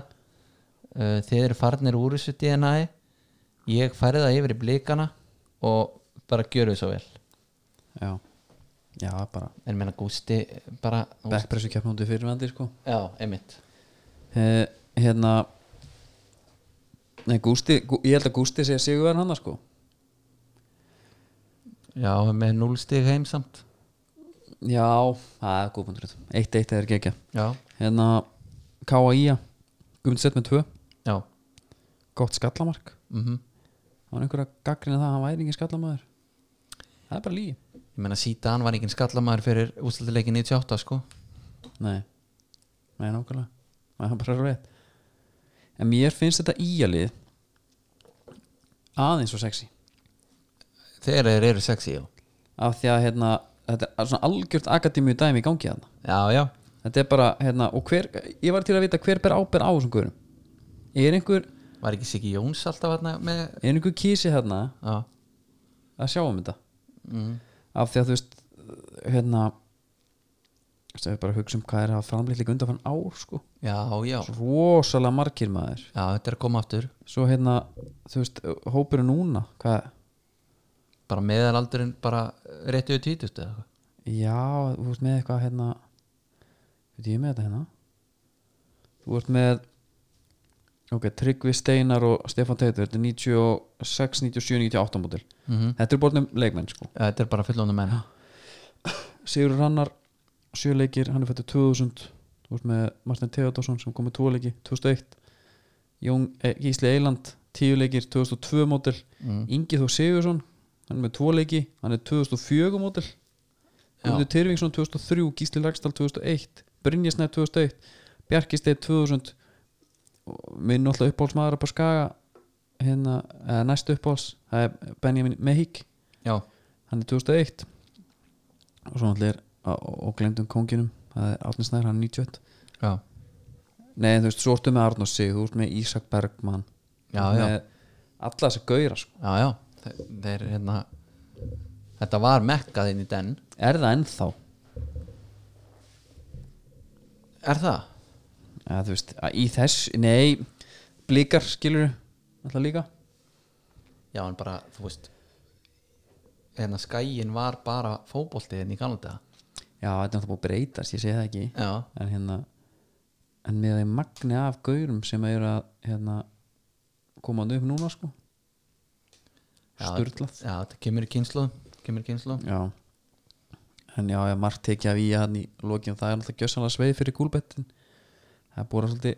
Speaker 2: uh, þeir eru farnir úr þessu DNA ég færi það yfir í blikana og bara gjöru svo vel
Speaker 1: já, já bara
Speaker 2: en menna Gústi bara
Speaker 1: backpressu keppnúti fyrir vandi sko
Speaker 2: já, einmitt
Speaker 1: He, hérna nei, Gústi, Gú, ég held að Gústi sé sigurverðan hann sko
Speaker 2: já, með núlstig heimsamt
Speaker 1: já, það er góðbundur eitt eitt eða er gegja
Speaker 2: já,
Speaker 1: hérna K.A.I.A. Guðmund sett með tvö
Speaker 2: já
Speaker 1: gott skallamark
Speaker 2: mm
Speaker 1: það var einhver að gaggrina það að hann væri engin skallamæður það er bara lígi
Speaker 2: ég menna Sítan var enginn skallamæður fyrir úslaldaleikin 98 sko
Speaker 1: nei, nei nákvæmlega nei, hann bara er rétt en mér finnst þetta íjalið aðeins og sexy
Speaker 2: þegar þeir eru sexy já,
Speaker 1: af því að hérna, þetta er svona algjört akademíu dæmi í gangi þarna
Speaker 2: já, já,
Speaker 1: þetta er bara, hérna, og hver ég var til að vita hver ber áber á þessum guðurum er einhver,
Speaker 2: var ekki Siggi Jóns alltaf hérna með
Speaker 1: er einhver kísi hérna
Speaker 2: já,
Speaker 1: að sjá um þetta
Speaker 2: mm.
Speaker 1: af því að þú veist, hérna þú veist, ef við bara hugsa um hvað er að framleitt líka undanfann ár, sko
Speaker 2: já, já
Speaker 1: Svo rosalega margir maður
Speaker 2: já, þetta er að koma aftur
Speaker 1: svo hérna, þú veist, hópurinn núna hvað,
Speaker 2: bara meðalaldurinn bara eh, rétt yfir tvítustu eða eitthvað
Speaker 1: já, þú veist með eitthvað hérna, veit ég með þetta hérna þú ert með ok, Tryggvi Steinar og Stefán Teitur, þetta er 96, 97, 98 mótil
Speaker 2: Mhm.
Speaker 1: Þetta er borðnum leikmenn sko
Speaker 2: Já, þetta er bara fullónum menn
Speaker 1: Sigur Rannar, sjöleikir, hann er fættur 2000 Þú veist með Martin Theodorsson sem kom með tvoleiki 2001 Jón eh, Gísli Eiland, tíuleikir 2002 mótil,
Speaker 2: Mm.
Speaker 1: Ingi Þór Sigursson hann er með tvoleiki, hann er 2004 mótil,
Speaker 2: Já.
Speaker 1: Guðmundur Tyrfingsson 2003, Gísli Lagstall 2001 Brynjesnæð 2001, Bjarki Steinn 2000 og minn alltaf uppáhaldsmaður upp á Skaga hérna, eða næst uppáhalds það er Benjamin Mehik
Speaker 2: já,
Speaker 1: hann er 2001 og svo allir og glemdum konginum það er Árni Snær, hann er 91
Speaker 2: já,
Speaker 1: nei, en þú veist, svo ertu með Arnór Sig þú ert með Ísak Bergmann
Speaker 2: Já,
Speaker 1: Þú ert
Speaker 2: já.
Speaker 1: með alla þessi gauðra sko.
Speaker 2: já, já. Þe- Þeir, hérna, þetta var mekkað inn í den
Speaker 1: er það ennþá
Speaker 2: er það?
Speaker 1: ja, þú veist, að í þess, nei blíkar skilur alltaf líka
Speaker 2: já, en bara, þú veist hérna skæin var bara fótboltið inn í Kanada
Speaker 1: já, þetta er alltaf búið að breytast, ég segi það ekki
Speaker 2: já,
Speaker 1: en hérna en með þeim magni af gaurum sem eru að hérna, koma upp núna sko
Speaker 2: Já.
Speaker 1: styrlað
Speaker 2: já, þetta kemur í kynslu kemur í kynslu
Speaker 1: Já En já, ég margt tekið af í hann í lokin það er náttúrulega gjössanlega sveið fyrir gúlbettin það er búið að svolítið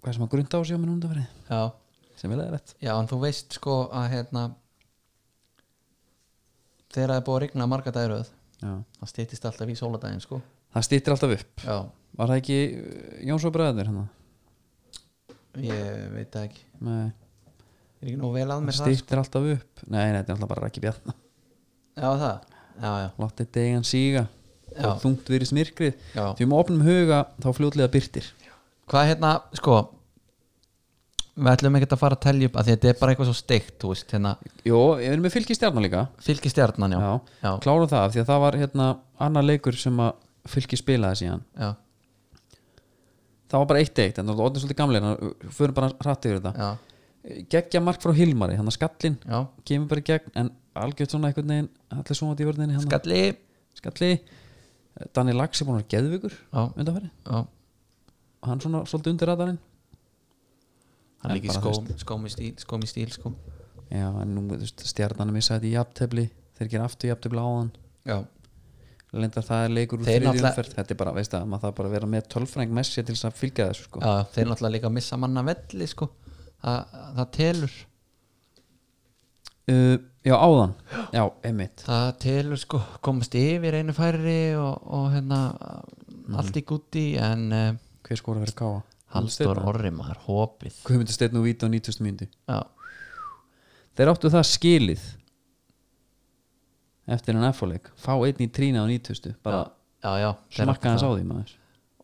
Speaker 1: hvað sem að grunda á sig á mér undanferði
Speaker 2: já,
Speaker 1: sem er leðilegt
Speaker 2: Já, en þú veist sko að hérna þegar það er búið að rigna marga dagiröð
Speaker 1: Já.
Speaker 2: það stýttist alltaf í sóladaginn sko
Speaker 1: það stýttir alltaf upp
Speaker 2: Já,
Speaker 1: var það ekki uh, Jóns og bræðir hérna
Speaker 2: ég veit það ekki
Speaker 1: Nei,
Speaker 2: er ekki nóg vel að
Speaker 1: það
Speaker 2: mér það sko.
Speaker 1: stýttir alltaf upp nei, nei, þetta er alltaf bara ekki bjarna
Speaker 2: Já, það, já, já,
Speaker 1: <laughs> látið degan síga
Speaker 2: Já.
Speaker 1: og þungt virðist myrkrið
Speaker 2: já
Speaker 1: því um opnum huga þá fljótlega byrtir
Speaker 2: Hvað hérna, sko við ætlum ekkert að fara að telja upp að því að þetta er bara eitthvað svo steikt, þú veist hérna,
Speaker 1: Jó, ég erum með fylgistjarnar líka
Speaker 2: fylgi stjarnan, já
Speaker 1: Já.
Speaker 2: já,
Speaker 1: klára það af því að það var hérna annar leikur sem að fylgi spilaði síðan
Speaker 2: já,
Speaker 1: það var bara eitt eitt, en það var orðin svolítið gamleir fyrir bara hratt yfir þetta
Speaker 2: já,
Speaker 1: geggja mark frá Hilmari, hann að skallin
Speaker 2: já.
Speaker 1: kemur bara í gegn, en algjört svona einhvern veginn allir svona í vörðinni hann
Speaker 2: Skalli
Speaker 1: skalli, Danni Lax er búin að vera geðvikur
Speaker 2: Já,
Speaker 1: undanfæri
Speaker 2: já
Speaker 1: og hann svona svolítið undir radarinn
Speaker 2: Hann
Speaker 1: En
Speaker 2: er ekki
Speaker 1: bara,
Speaker 2: skó, skómi stíl, skómi stíl, sko
Speaker 1: já, en nú, þú veist, stjarnan er missaði í jafntefli þeir gera aftur jafntefli á hann
Speaker 2: Já,
Speaker 1: lendar það er leikur úr
Speaker 2: Þeir
Speaker 1: þriðju
Speaker 2: náttúrulega-
Speaker 1: umferð þetta er bara, veist það, maður það bara að vera með tölfræng messi til þess að fylgja þessu sko
Speaker 2: Já, þeir náttúrulega líka missa manna velli sko. Þa, það telur
Speaker 1: uh, já, áðan, já, einmitt
Speaker 2: það telur sko komast yfir einu færri og, og hérna allt í gutti en uh,
Speaker 1: hver skora verið káa?
Speaker 2: Halldór Orri maður hópið
Speaker 1: Guðmundur Steinn og Víti á 90. myndi
Speaker 2: já,
Speaker 1: þeir áttu það skilið eftir en F-leik fá einn í trína á 90. bara
Speaker 2: já, já, þeir áttu
Speaker 1: smakka hans á
Speaker 2: það.
Speaker 1: því maður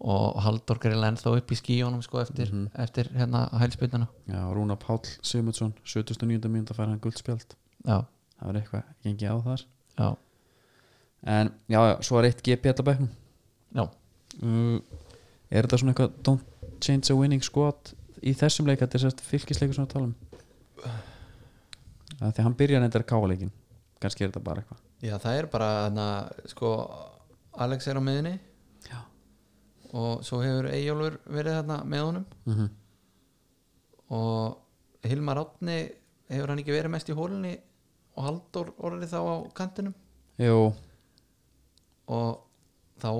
Speaker 2: og Halldór greið ennþá upp í skíjónum sko eftir,
Speaker 1: Mhm.
Speaker 2: eftir hérna hælspytuna
Speaker 1: já, Rúna Páll Sigmundsson 79. myndi að færa hann guldspjald
Speaker 2: já,
Speaker 1: það var eitthvað gengið á þar
Speaker 2: já,
Speaker 1: en já, já, svo er eitt GP alltaf bæknum
Speaker 2: já
Speaker 1: uh, er þetta svona eitthvað don't change a winning squad í þessum leik þetta er sérst fylgisleikur sem við talum að því að hann byrjar endur að káa leikin kannski er þetta bara eitthvað
Speaker 2: já, það er bara hérna, sko Alex er á miðinni
Speaker 1: já,
Speaker 2: og svo hefur Eyjólfur verið hérna með honum
Speaker 1: mm
Speaker 2: og Hilmar Átni hefur hann ekki verið mest í hólunni og Halldór orðið þá á kantinum
Speaker 1: jú
Speaker 2: og þá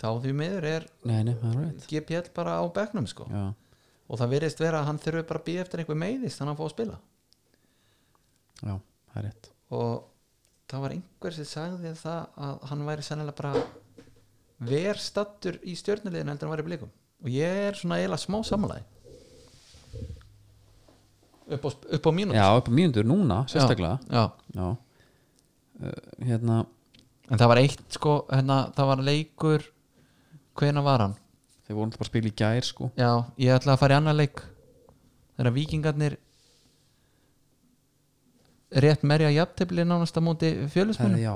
Speaker 2: þá því miður er
Speaker 1: nei, nei, það er rétt
Speaker 2: GPL bara á bekknum sko
Speaker 1: já,
Speaker 2: og það virðist vera að hann þurfi bara að býja eftir einhver meiðist þannig að hann fá að spila
Speaker 1: já, það er rétt
Speaker 2: og það var einhver sem sagði það að hann væri sennilega bara ver stattur í stjörnulegin heldur en hann væri í blikum og ég er svona eiginlega smá samlæði upp á, upp á mínútur
Speaker 1: já, upp á mínundur núna, sérstaklega
Speaker 2: já, já.
Speaker 1: já, Uh, hérna
Speaker 2: En það var eitt sko hérna, það var leikur hvena var hann?
Speaker 1: þeir voru alltaf bara að spila í gær sko
Speaker 2: Já, ég ætla að fara í annar leik þegar vikingarnir rétt merja jafntefli nánast á móti
Speaker 1: Herra,
Speaker 2: fjölusmunum
Speaker 1: já,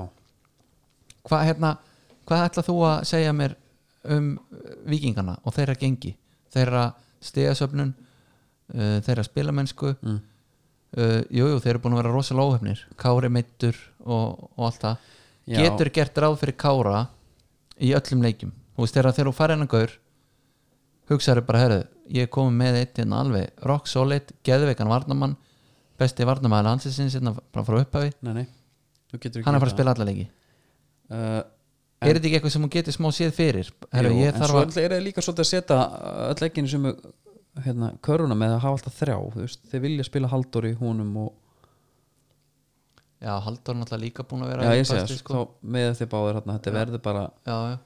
Speaker 2: hvað hérna, hvað ætla þú að segja mér um eh, vikingarna og þeirra gengi, þeirra stegasöfnun uh, þeirra spilamennsku
Speaker 1: Mm.
Speaker 2: uh, jú, jú, þeir eru búin að vera rosalega óhefnir Kári meittur og, og allt það
Speaker 1: Já.
Speaker 2: getur gert ráð fyrir Kára í öllum leikjum þú veist þegar þegar þú farið hennan gaur hugsaðu bara, herðu, ég er komið með eitt hérna alveg rock solid, geðveikan varnamann besti varnamæður landsinsins hérna bara frá upphafi,
Speaker 1: nei, nei Þú getur ekki
Speaker 2: hann er að fara
Speaker 1: gert
Speaker 2: að spila alla leiki
Speaker 1: það. uh,
Speaker 2: er þetta ekki eitthvað sem hún getur smá séð fyrir herru,
Speaker 1: Jú,
Speaker 2: ég
Speaker 1: en
Speaker 2: þarf
Speaker 1: svo
Speaker 2: að
Speaker 1: að... er það líka svolítið að setja uh, öll legginu sem er, hérna, köruna með að hafa alltaf þrjá þú veist, þeir vilja spila Halldór í húnum og
Speaker 2: já, Halldór er náttúrulega líka búin að vera
Speaker 1: já,
Speaker 2: í
Speaker 1: ég segja,
Speaker 2: basti,
Speaker 1: sko. þá með þeir báðir hérna, þetta verður bara
Speaker 2: já, já.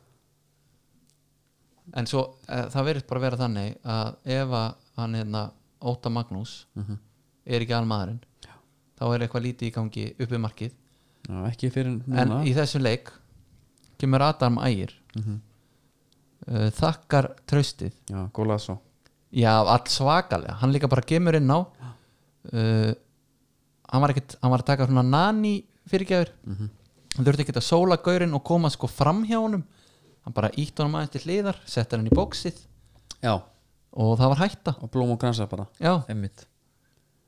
Speaker 2: en svo e, það verður bara að vera þannig að ef að hann hérna Óta Magnús
Speaker 1: Mhm.
Speaker 2: er ekki almaðurinn já. þá er eitthvað lítið í gangi uppi markið
Speaker 1: já, ekki fyrir
Speaker 2: en
Speaker 1: núna Mhm.
Speaker 2: í þessum leik kemur Adam Ægir mm þakkar tröstið
Speaker 1: já, góla svo
Speaker 2: já, allt svakalega, hann líka bara kemur inn á uh, hann var ekkit hann var að taka svona nani fyrirgjafir hann þurfti ekkit að sóla gaurinn og koma sko fram hjá honum hann bara ítt honum aðeins til hliðar settar hann í bóksið
Speaker 1: já,
Speaker 2: og það var hætta
Speaker 1: og blóm og gransa bara
Speaker 2: já,
Speaker 1: emmitt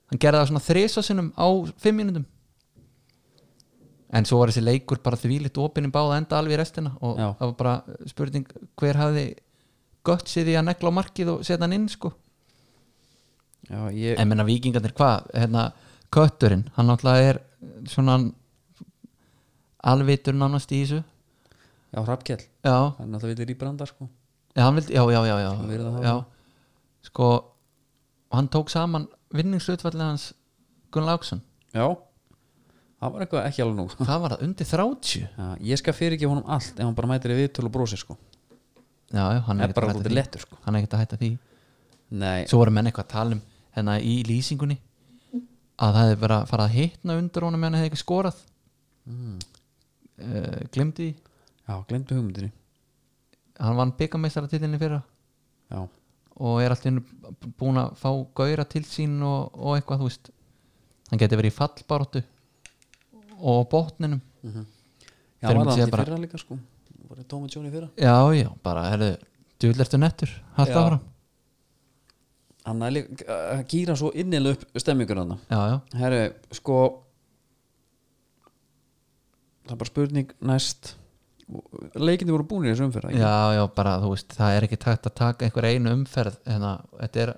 Speaker 2: hann gerði það svona þrisasinum á fimm mínútum en svo var þessi leikur bara þvílitt opinn í báða enda alveg í restina og
Speaker 1: Já.
Speaker 2: það var bara spurning hver hafði gött sér í að negla á markið og setja hann inn sko
Speaker 1: já, ég,
Speaker 2: en menna vikingarnir hvað hérna, kötturinn, hann náttúrulega er svona alvitur nánast í þessu
Speaker 1: já, Hrafkell
Speaker 2: já,
Speaker 1: hann er alltaf vilja í branda sko
Speaker 2: já, hann vildi, já, já, já,
Speaker 1: Hann verið að
Speaker 2: já,
Speaker 1: hafa.
Speaker 2: já. sko og hann tók saman vinningslutvallið hans Gunnar Láksson
Speaker 1: já það var eitthvað ekki alveg sko. nú
Speaker 2: það var það undir 30 já,
Speaker 1: já, ég skal fyrir ekki honum allt ef hann bara mætir í viðtöl og brosir sko
Speaker 2: já, hann
Speaker 1: það
Speaker 2: er
Speaker 1: er
Speaker 2: ekkert
Speaker 1: bara alltaf
Speaker 2: að hætta því
Speaker 1: lettur sko
Speaker 2: hann er ekkert að hætta því
Speaker 1: nei,
Speaker 2: svo voru menn eitthvað að tala um hérna í lýsingunni að það hefði verið að fara að hitna undir honum meðan hann hefði ekki skorað mm. uh, glemdi því
Speaker 1: já, glemdu hugmyndinni
Speaker 2: hann vann byggameistaratilinni fyrra
Speaker 1: já,
Speaker 2: og er alltaf búin að fá gauðra til sín og, og eitthvað þú veist hann geti verið í fallbaróttu og á botninum
Speaker 1: Mhm. já
Speaker 2: Fyrir
Speaker 1: var
Speaker 2: mig
Speaker 1: það
Speaker 2: sé
Speaker 1: ekki
Speaker 2: bara-
Speaker 1: fyrra líka sko bara Tómi Jóni fyrra
Speaker 2: já já, bara herðu djúðlertu nettur, halda
Speaker 1: Já.
Speaker 2: áfram
Speaker 1: hann er líka að gýra svo innilega upp stemmingur hann
Speaker 2: já já,
Speaker 1: herru, sko það er bara spurning næst leikindi voru búinir þessu umfyrra
Speaker 2: já já, bara þú veist það er ekki takt að taka einhver einu umferð hérna, þetta er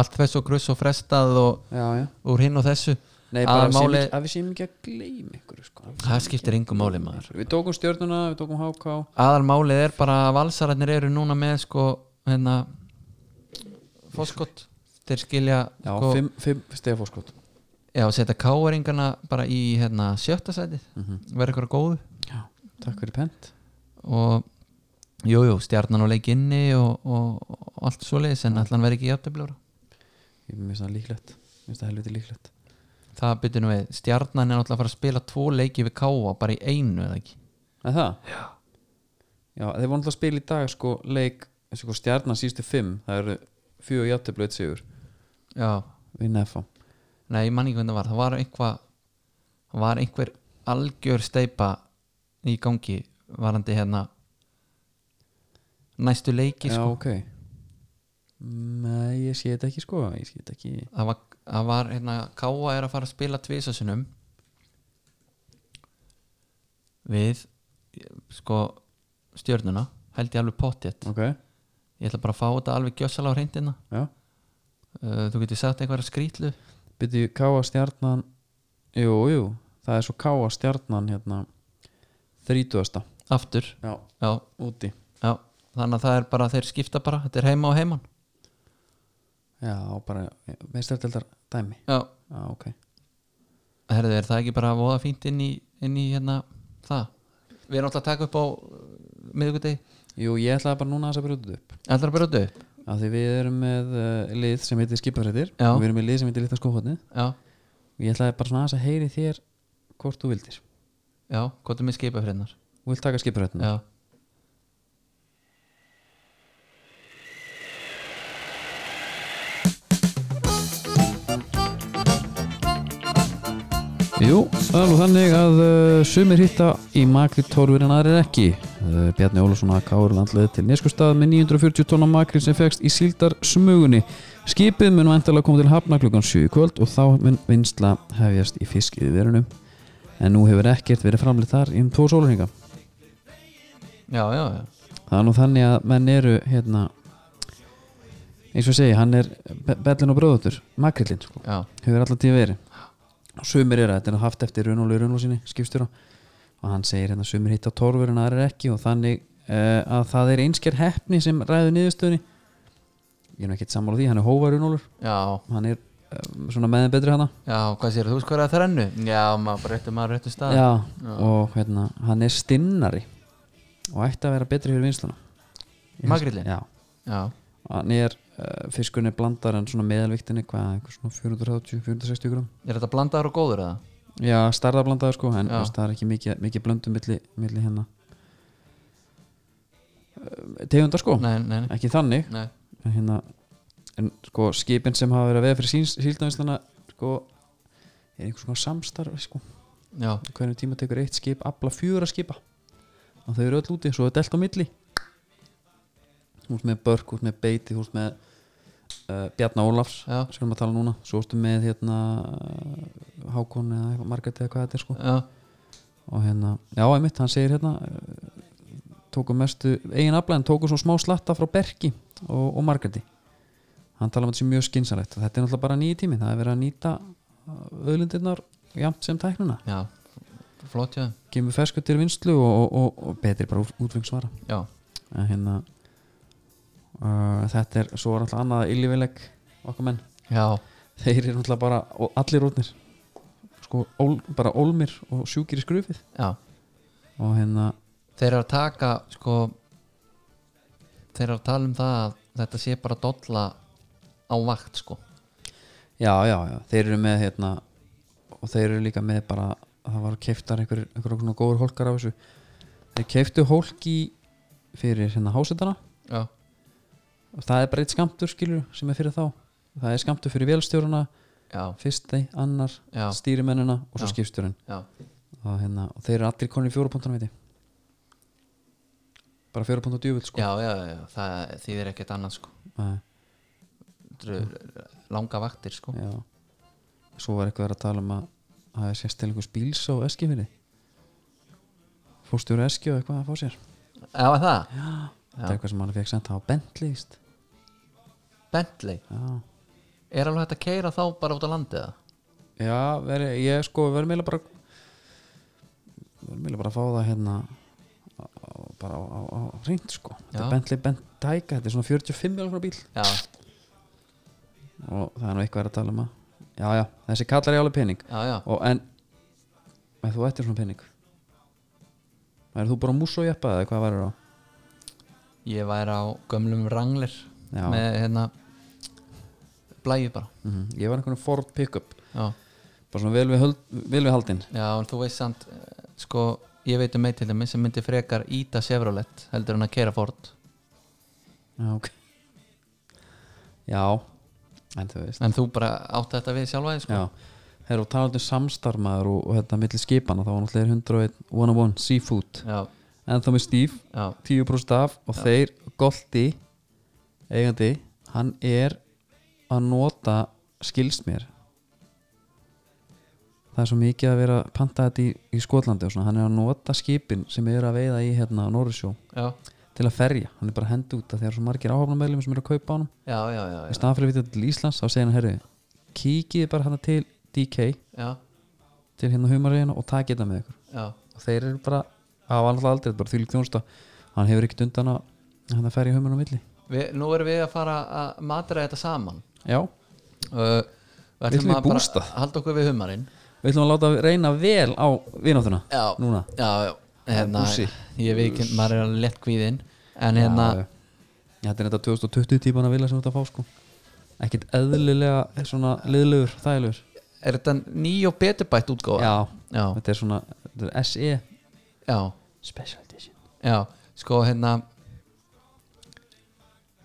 Speaker 2: allt fess og gruss og frestað og
Speaker 1: já, já.
Speaker 2: úr hinn og þessu
Speaker 1: Nei, bara
Speaker 2: að
Speaker 1: að,
Speaker 2: máli,
Speaker 1: máli... að við séum ekki að gleyma ykkur sko.
Speaker 2: það skiptir yngu máli maður
Speaker 1: við tókum stjörnuna, við tókum háká
Speaker 2: aðal málið er bara að valsararnir eru núna með sko hérna foskott þeir skilja
Speaker 1: já,
Speaker 2: sko,
Speaker 1: fimm, fimm stegar fórskot
Speaker 2: já, setja káeringana bara í hérna sjötta sætið verður ykkur að góðu
Speaker 1: já, Mhm. takk fyrir pent
Speaker 2: og jújú, jú, stjarnan og leik inni og, og, og allt svoleiðis en allan verður ekki játtöfljóra
Speaker 1: ég minnst það líklegt, minnst það helviti líklegt
Speaker 2: það byrjum við, stjarnan er náttúrulega að fara að spila tvo leiki við káa bara í einu eða ekki
Speaker 1: en það? já, já þeir voru náttúrulega að spila í dag sko, leik, sko, stjarnan sístu fimm það eru fjögur játtöflu eitt sigur
Speaker 2: já,
Speaker 1: við nefa
Speaker 2: Nei, ég man ekki hvernig það var Það var einhvað það var einhver algjör steipa í gangi varandi hérna næstu leiki
Speaker 1: já,
Speaker 2: sko.
Speaker 1: ok nei, ég sé þetta ekki sko ég sé þetta ekki
Speaker 2: það, var, það var hérna Káa er að fara að spila tvisasunum við sko stjörnuna held ég alveg pottjett
Speaker 1: ok,
Speaker 2: ég ætla bara að fá þetta alveg gjössalega á reyndina
Speaker 1: já
Speaker 2: uh, þú getur sagt eitthvað skrýtlu
Speaker 1: byrju káa stjarnan jú, jú, það er svo káa stjarnan hérna þrítugasta
Speaker 2: aftur
Speaker 1: já,
Speaker 2: já,
Speaker 1: úti
Speaker 2: já. þannig að það er bara þeir skipta bara þetta er heima og heiman
Speaker 1: já, bara meistardeldar dæmi
Speaker 2: já,
Speaker 1: já, ok
Speaker 2: Herðu, er það ekki bara að voða fínt inn í, inn í hérna það? Við erum alltaf að taka upp á uh, miðugudegi,
Speaker 1: jú, ég ætlaði bara núna aðeins að brjóta þetta upp
Speaker 2: alltaf að brjóta upp
Speaker 1: af því við erum með uh, lið sem heitir skipafrættir
Speaker 2: Já.
Speaker 1: og við erum með lið sem heitir litla skóhotni
Speaker 2: Já,
Speaker 1: og ég ætlaði bara svona aðeins að heyri þér hvort þú vildir
Speaker 2: já, hvað er með skipafriðnar?
Speaker 1: þú vilt taka skipafrættina
Speaker 2: Já,
Speaker 1: Jú, það er alveg þannig að uh, sumir hitta í makritorfur en aðrir ekki. Uh, Bjarni Ólafsson að káur landleði til Neskustad með 940 tonna makrið sem fegst í síldar smugunni. Skipið mun vantilega koma til hafna klukkan 7 í kvöld og þá mun vinsla hefjast í fiskið verunum. En nú hefur ekkert verið framlið þar í um tvo sólurhinga.
Speaker 2: já, já, já.
Speaker 1: Það er nú þannig að menn eru hérna, eins og ég segi, hann er be bellin og bróðutur, makriðlinn sko
Speaker 2: já.
Speaker 1: hefur alltaf tíð verið og sumir eru að þetta er haft eftir Runóli Runósinni skipstjóra og hann segir hérna sumir hitta torfur en aðrir ekki og þannig uh, að það er einsker heppni sem ræður niðurstöðni ég er nú ekkert sammála því, hann er hófa Runólur
Speaker 2: Já,
Speaker 1: hann er um, svona meðin betri hana
Speaker 2: já, hvað sér þú skoraði að þrennu? Já, maður bara réttu maður réttu stað
Speaker 1: já, og hérna hann er stinnari og ætti að vera betri fyrir vinsluna
Speaker 2: Magrillin?
Speaker 1: já,
Speaker 2: já,
Speaker 1: hann er uh, fiskunni blandar en svona meðalviktinni hvað, eitthvað svona 430-460 gram
Speaker 2: er þetta blandaður og góður eða?
Speaker 1: Já, starðablandaður sko en
Speaker 2: Já.
Speaker 1: veist, það er ekki mikið, mikið blöndum milli, milli hérna Eh, tegundar sko
Speaker 2: Nei, nei, nei,
Speaker 1: ekki þannig
Speaker 2: nei.
Speaker 1: en, hérna, en sko skipin sem hafa verið að veða fyrir síns- síldarvinnsluna sko er einhvers konar samstarf sko.
Speaker 2: já,
Speaker 1: hvernig tíma tekur eitt skip afla fjögur að skipa og þau eru öll úti, svo er delt á milli þú ert með Börk, þú ert með Beiti þú ert með uh, Bjarna Ólafs
Speaker 2: já,
Speaker 1: sem við að tala um núna, svo ertu með hérna eh, Hákon eða eitthvað, Margrét eða hvað þetta er sko
Speaker 2: já,
Speaker 1: og hérna, já einmitt, hann segir hérna eh, tóku mestu eigin afla en tóku svo smá slatta frá Berki og, og Margreti hann tala um þetta sem mjög skynsalegt þetta er náttúrulega bara nýji tími, það er verið að nýta öðlundirnar jafnt sem tæknuna
Speaker 2: já, flott, já,
Speaker 1: kemur fersku til vinslu og, og, og, og betri bara útfengsvara
Speaker 2: já,
Speaker 1: en hérna uh, þetta er svo er alltaf annað illivileg okkar menn
Speaker 2: já,
Speaker 1: þeir eru náttúrulega bara, og allir rótnir sko, ól, bara ólmir og sjúkir í skrufið
Speaker 2: já
Speaker 1: og hérna,
Speaker 2: þeir eru að taka sko þeir eru að tala um það að þetta sé bara dolla á vakt sko
Speaker 1: já, já, já þeir eru með hérna og þeir eru líka með bara, það var keiftar einhver, einhver svona góður hólkar af þessu þeir keiftu hólki fyrir hérna hásetana
Speaker 2: já,
Speaker 1: og það er bara eitt skamtur skilur sem er fyrir þá það er skamtur fyrir velstjóruna,
Speaker 2: já,
Speaker 1: fyrsti, annar
Speaker 2: já,
Speaker 1: stýrimennina og svo
Speaker 2: Já.
Speaker 1: skipstjórinn
Speaker 2: já,
Speaker 1: og, hérna, og þeir eru allir konir í fjórapunktunum veit ég bara fjórapunktunum djúvill sko
Speaker 2: já, já, já það þýðir ekkert annað sko
Speaker 1: Nei.
Speaker 2: Þetta eru langa vaktir sko
Speaker 1: Já Svo var eitthvað verið að tala um að það er sérst til einhvers bíls á Eskifirði Fórstjóri Eski og eitthvað að fá sér
Speaker 2: já, var það,
Speaker 1: Þetta er eitthvað sem hann fekk sent á Bentley víst.
Speaker 2: Bentley
Speaker 1: Já,
Speaker 2: er alveg hægt að keira þá bara út á landið eða?
Speaker 1: Já veri, ég sko verður meila bara verður meila bara að fá það hérna á, á- bara á, á, á reynd sko Þetta
Speaker 2: Já.
Speaker 1: er Bentley Bentayga, þetta er svona 45 miljonar bíl
Speaker 2: já,
Speaker 1: og það er nú eitthvað verið að tala um að Já, já, þessi kallar ég alveg pening
Speaker 2: já, já,
Speaker 1: og en ef þú ættir svona pening væri þú bara mús og jeppa eða hvað væri á
Speaker 2: ég væri á gömlum ranglir
Speaker 1: Já.
Speaker 2: með hérna blæju bara
Speaker 1: mm ég var einhvern Ford pickup
Speaker 2: já,
Speaker 1: bara svona vel við, höld, vel við haldin
Speaker 2: já, en þú veist samt eh, sko, ég veit um eitt til þeim sem myndi frekar íta Chevrolet heldur en að keira Ford
Speaker 1: já, ok já en þú veist
Speaker 2: en þú bara átti þetta við sjálfa þig, sko.
Speaker 1: já Herra, og talandi um samstarmaður og, og þetta milli skipana, þá var náttúrulega 101 101 Seafood,
Speaker 2: já,
Speaker 1: en þá með Steve
Speaker 2: já,
Speaker 1: 10% af og þeir Goldi, eigandi hann er að nota skilst mér það er svo mikið að vera panta þetta í, í Skotlandi og svona, hann er að nota skipin sem eru að veiða í hérna á Norrisjó
Speaker 2: já,
Speaker 1: til að ferja, hann er bara að henda út að þegar svo margir áhafnameðlum sem eru að kaupa á hann
Speaker 2: já, já, já,
Speaker 1: í
Speaker 2: já,
Speaker 1: staðan fyrir að vitja til Íslands þá segir hann herri, kíkið bara hann til DK,
Speaker 2: já,
Speaker 1: til hérna humarriðina og takið það með ykkur
Speaker 2: já,
Speaker 1: og þeir eru bara, það var alltaf aldrei bara þvílík þjónsta, hann hefur ekkert undan að hann að hérna ferja humurinn á milli
Speaker 2: Við, nú erum við að fara að matra þetta saman
Speaker 1: já,
Speaker 2: uh,
Speaker 1: Viljum
Speaker 2: við ætlum
Speaker 1: við
Speaker 2: að bara
Speaker 1: bústa?
Speaker 2: halda okkur við humarinn
Speaker 1: við ætlum að láta reyna vel á vináttuna
Speaker 2: já,
Speaker 1: núna
Speaker 2: já, já, hérna
Speaker 1: Bússi.
Speaker 2: ég veit ekki, maður er að lett kvíðinn en hérna,
Speaker 1: Já, já. þetta er þetta 2020 tíman að vilja sem þú ert að fá sko ekkert eðlilega svona liðlegur, þægilegur
Speaker 2: er þetta ný og beturbætt útgóða?
Speaker 1: já,
Speaker 2: já,
Speaker 1: þetta er svona þetta er E. SE
Speaker 2: já,
Speaker 1: Special Edition
Speaker 2: já sko hérna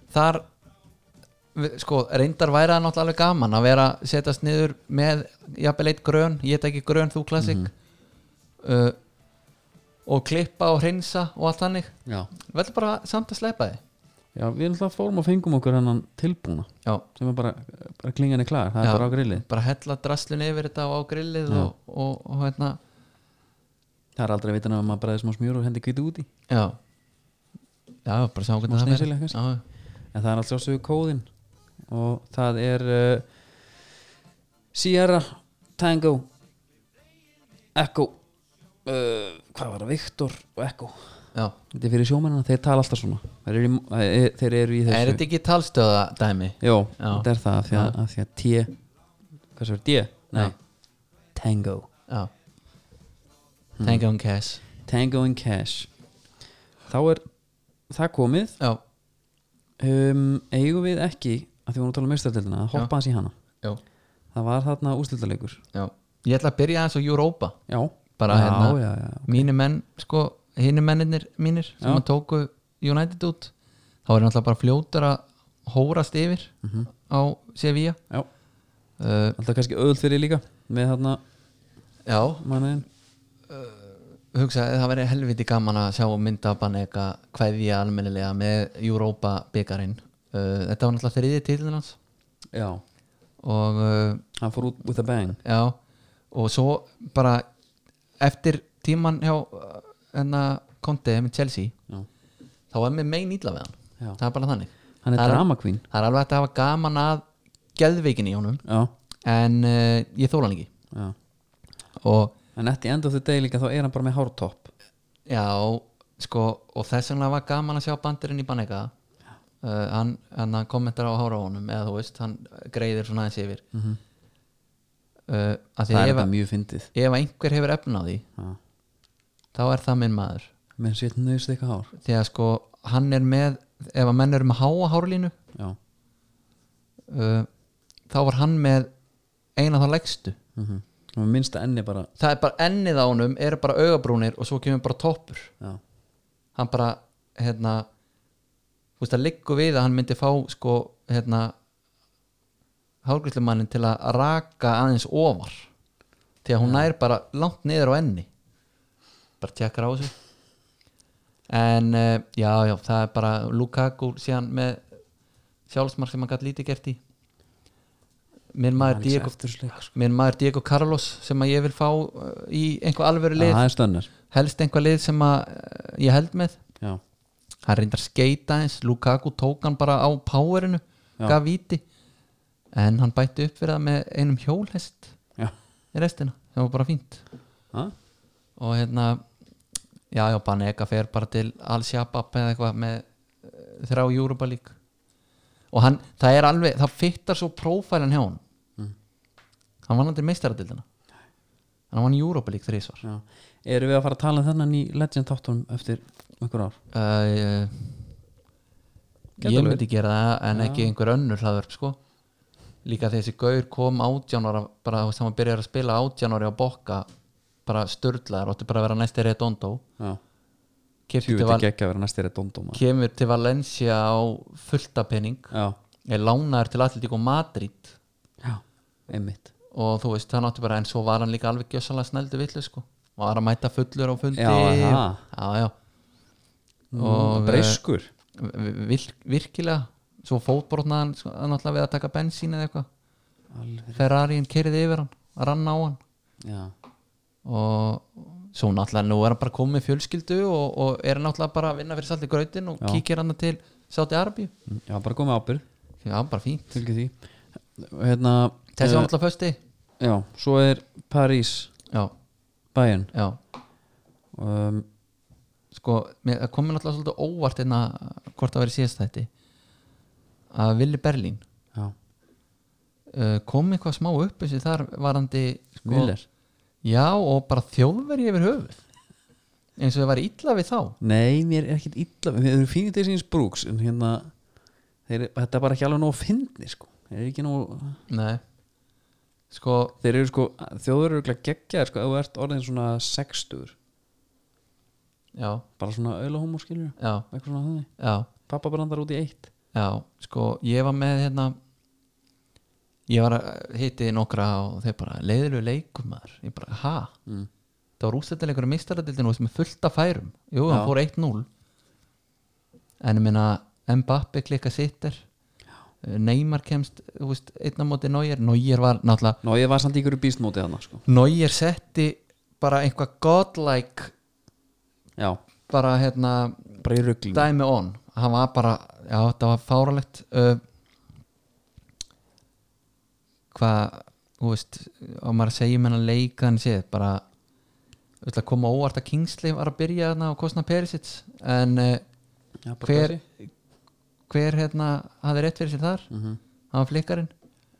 Speaker 2: þar við- sko, reyndar væri það náttúrulega alveg gaman að vera að setjast niður með jafnvel eitt grön, ég tek ekki grön þú klassik
Speaker 1: Mhm.
Speaker 2: uh, og klippa og hreinsa og allt þannig,
Speaker 1: já
Speaker 2: við ætlum bara samt að sleppa þið
Speaker 1: Já, við erum alltaf fórum og fengum okkur hennan tilbúna
Speaker 2: já,
Speaker 1: sem er bara, bara klingan er klar, það
Speaker 2: Já.
Speaker 1: er bara á grillið
Speaker 2: bara hella draslun yfir þetta og á grillið og, og, og hérna
Speaker 1: Það er aldrei að vita nefnum að maður bræði smá smjúr og hendi kvíti úti
Speaker 2: Já Já, bara sjá hvernig
Speaker 1: Má
Speaker 2: það
Speaker 1: sneysilega
Speaker 2: verður
Speaker 1: kannski.
Speaker 2: Já,
Speaker 1: en það er alltaf svo kóðinn og það er uh, Sierra Tango Echo uh, hvað var það, Victor og Echo
Speaker 2: já.
Speaker 1: þetta er fyrir sjómennina, þeir tala alltaf svona þeir eru í, eh, þeir eru í
Speaker 2: Er
Speaker 1: þessu
Speaker 2: þetta ekki talstöða dæmi?
Speaker 1: Jó,
Speaker 2: Já.
Speaker 1: þetta er það af því að, af því að T hvað svo er D? Nei,
Speaker 2: Já.
Speaker 1: Tango
Speaker 2: Já
Speaker 1: Hmm.
Speaker 2: Thank you on cash
Speaker 1: Tango and Cash þá er það komið
Speaker 2: Já,
Speaker 1: um, eigum við ekki að því vorum að tala um meistardeldina að hoppa hans í hana
Speaker 2: já,
Speaker 1: það var þarna úrslitaleikur
Speaker 2: já Ég ætla að byrja aðeins á Europa
Speaker 1: já,
Speaker 2: Bara
Speaker 1: já,
Speaker 2: hérna.
Speaker 1: já, já.
Speaker 2: Mínu menn, sko, hinu menninir mínir sem
Speaker 1: Já.
Speaker 2: að tóku United út þá er náttúrulega bara fljótur að hórast yfir
Speaker 1: Mhm.
Speaker 2: á Sevilla
Speaker 1: já,
Speaker 2: uh,
Speaker 1: alltaf kannski öðult fyrir líka með þarna
Speaker 2: Já,
Speaker 1: manniðin
Speaker 2: hugsaði að það væri helviti gaman að sjá myndabanega kveðja almennilega með Europa byggarinn uh, þetta var náttúrulega þriðið títlun hans
Speaker 1: já,
Speaker 2: og uh,
Speaker 1: hann fór út with a bang
Speaker 2: já og svo bara eftir tíman hjá hennar Conte með Chelsea
Speaker 1: já,
Speaker 2: þá er mér megin ítla við hann
Speaker 1: Já.
Speaker 2: það er bara þannig
Speaker 1: hann er
Speaker 2: það,
Speaker 1: drama queen
Speaker 2: það er alveg hægt að hafa gaman að geðveikinni í honum
Speaker 1: já,
Speaker 2: en uh, ég þóla hann ekki
Speaker 1: já
Speaker 2: og
Speaker 1: en eftir end of the day líka þá er hann bara með hártopp
Speaker 2: Já, sko og þess vegna var gaman að sjá bandirinn í Banega uh, hann, hann kommentar á hára á honum eða þú veist, hann greiðir svona aðeins yfir
Speaker 1: mm
Speaker 2: uh, af því
Speaker 1: það
Speaker 2: að
Speaker 1: er
Speaker 2: ef,
Speaker 1: þetta mjög fyndið
Speaker 2: ef einhver hefur efna á því
Speaker 1: Já.
Speaker 2: þá er það minn maður
Speaker 1: menn sétt nöðst eitthvað hár
Speaker 2: því að sko, hann er með ef að menn eru með háa hárlínu
Speaker 1: já,
Speaker 2: uh, þá var hann með eina þá leggstu
Speaker 1: mm -hmm. og minnsta enni bara
Speaker 2: það er bara ennið á honum, eru bara augabrúnir og svo kemur bara toppur
Speaker 1: já,
Speaker 2: hann bara hérna þú veist það liggur við að hann myndi fá sko hérna hálgriðslumannin til að raka aðeins ofar því að hún nær bara langt niður á enni bara tjekkar á þessu en uh, já já það er bara Lukaku síðan með sjálfsmark sem hann gætt lítið gert í minn maður Diego minn maður Diego Carlos sem að ég vil fá uh, í einhver alvöru lið
Speaker 1: það er stönnar
Speaker 2: helst einhvað lið sem að eh, ég held með
Speaker 1: já,
Speaker 2: hann reyndar skeita eins, Lukaku tók hann bara á powerinu,
Speaker 1: Já.
Speaker 2: gaf viti en hann bætti upp fyrir það með einum hjólhest
Speaker 1: já,
Speaker 2: í restina, það var bara fínt
Speaker 1: ha?
Speaker 2: og hérna já, já, Banega fer bara til Al-Shabab eða eitthvað með eh, þrá Júrupa lík og hann, það er alveg, það fittar svo prófælin hjá hann hann var hann til meistaradildina hann var hann Júrupa lík þrísvar
Speaker 1: já erum við að fara að tala um þennan í Legend þáttunum eftir einhver ár
Speaker 2: Uh,
Speaker 1: Gæti
Speaker 2: ég
Speaker 1: alveg
Speaker 2: myndi gera það en ekki einhver önnur hlaðvörp sko líka þessi gaur kom átjánara bara þú veist, hann byrjar að spila átjánari á bokka bara störlaðar, óttu bara að vera næsti redondo
Speaker 1: já,
Speaker 2: Keyptur til
Speaker 1: tjúið
Speaker 2: Val-
Speaker 1: ekki ekki að vera næstir að dóndóma
Speaker 2: kemur til Valencia á fullta pening
Speaker 1: já,
Speaker 2: er lánaður til Atletico Madrid
Speaker 1: já, einmitt
Speaker 2: og þú veist, hann átti bara en svo var hann líka alveg gjössalega snældu villu sko var að mæta fullur á fundi
Speaker 1: Já, aha. Mm,
Speaker 2: já, já Og, eh,
Speaker 1: og breyskur
Speaker 2: vir, virkilega svo fótbrotnaðan náttúrulega við að taka bensín eða eitthvað
Speaker 1: Alveg.
Speaker 2: Ferrarin kerði yfir hann, rann á hann
Speaker 1: já,
Speaker 2: og svo náttúrulega nú er hann bara komið með fjölskyldu og, og er náttúrulega bara að vinna fyrir salti grautin og
Speaker 1: Já.
Speaker 2: kíkir hann til Sáti Arbíu,
Speaker 1: já, bara komið ábyrð
Speaker 2: já bara fín
Speaker 1: fylgir því hérna,
Speaker 2: þessi
Speaker 1: eh,
Speaker 2: var náttúrulega fösti
Speaker 1: já, svo er París
Speaker 2: já,
Speaker 1: bæinn
Speaker 2: já,
Speaker 1: um,
Speaker 2: sko mér- það komið náttúrulega svolítið óvart einna hvort það verið síðast þætti að Willi Berlín
Speaker 1: já,
Speaker 2: uh, kom eitthvað smá upp þessi þar varandi sko,
Speaker 1: Müller
Speaker 2: Já og bara þjóðveri yfir höfuð eins og það var illa við þá
Speaker 1: nei, mér er ekkit illa við erum fínir til síns brúks en hérna, þeir, þetta er bara ekki alveg nóg fyndni sko, þeir eru ekki nóg
Speaker 2: Nei Sko,
Speaker 1: þeir eru sko, þjóður eru ekki geggjaðir sko, ef þú ert orðin svona sextur
Speaker 2: já,
Speaker 1: bara svona auðla homoskilur
Speaker 2: já,
Speaker 1: eitthvað svona þannig,
Speaker 2: já,
Speaker 1: pappa brandar út í eitt
Speaker 2: já Sko, ég var með hérna Ég var að hitti nokkra og þeir bara leiðilegu leikumar Ég bara, ha?
Speaker 1: Mm.
Speaker 2: Það var ústættilegur í mistaradildinu með fullt af færum Jú, hann
Speaker 1: Já.
Speaker 2: fór 1-0 En ég meina Mbappi klikka sittir Neymar kemst, þú veist, einna móti Nóir Nóir var náttúrulega
Speaker 1: Ná, ég var samt í ykkur býstmótið hann sko.
Speaker 2: Nóir setti bara einhvað godlike
Speaker 1: já,
Speaker 2: bara hérna
Speaker 1: bara í ruggling
Speaker 2: dæmi on hann var bara, já þetta var fáralegt uh, hvað þú veist, og maður segir menna leik þannig séð, bara þú veist, að koma óvart að Kingsley var að byrja þarna og kostna Perisits en uh,
Speaker 1: já, bara
Speaker 2: hver
Speaker 1: þessi.
Speaker 2: hver hérna hafði rétt fyrir sér þar
Speaker 1: Mhm.
Speaker 2: hann var flikkarinn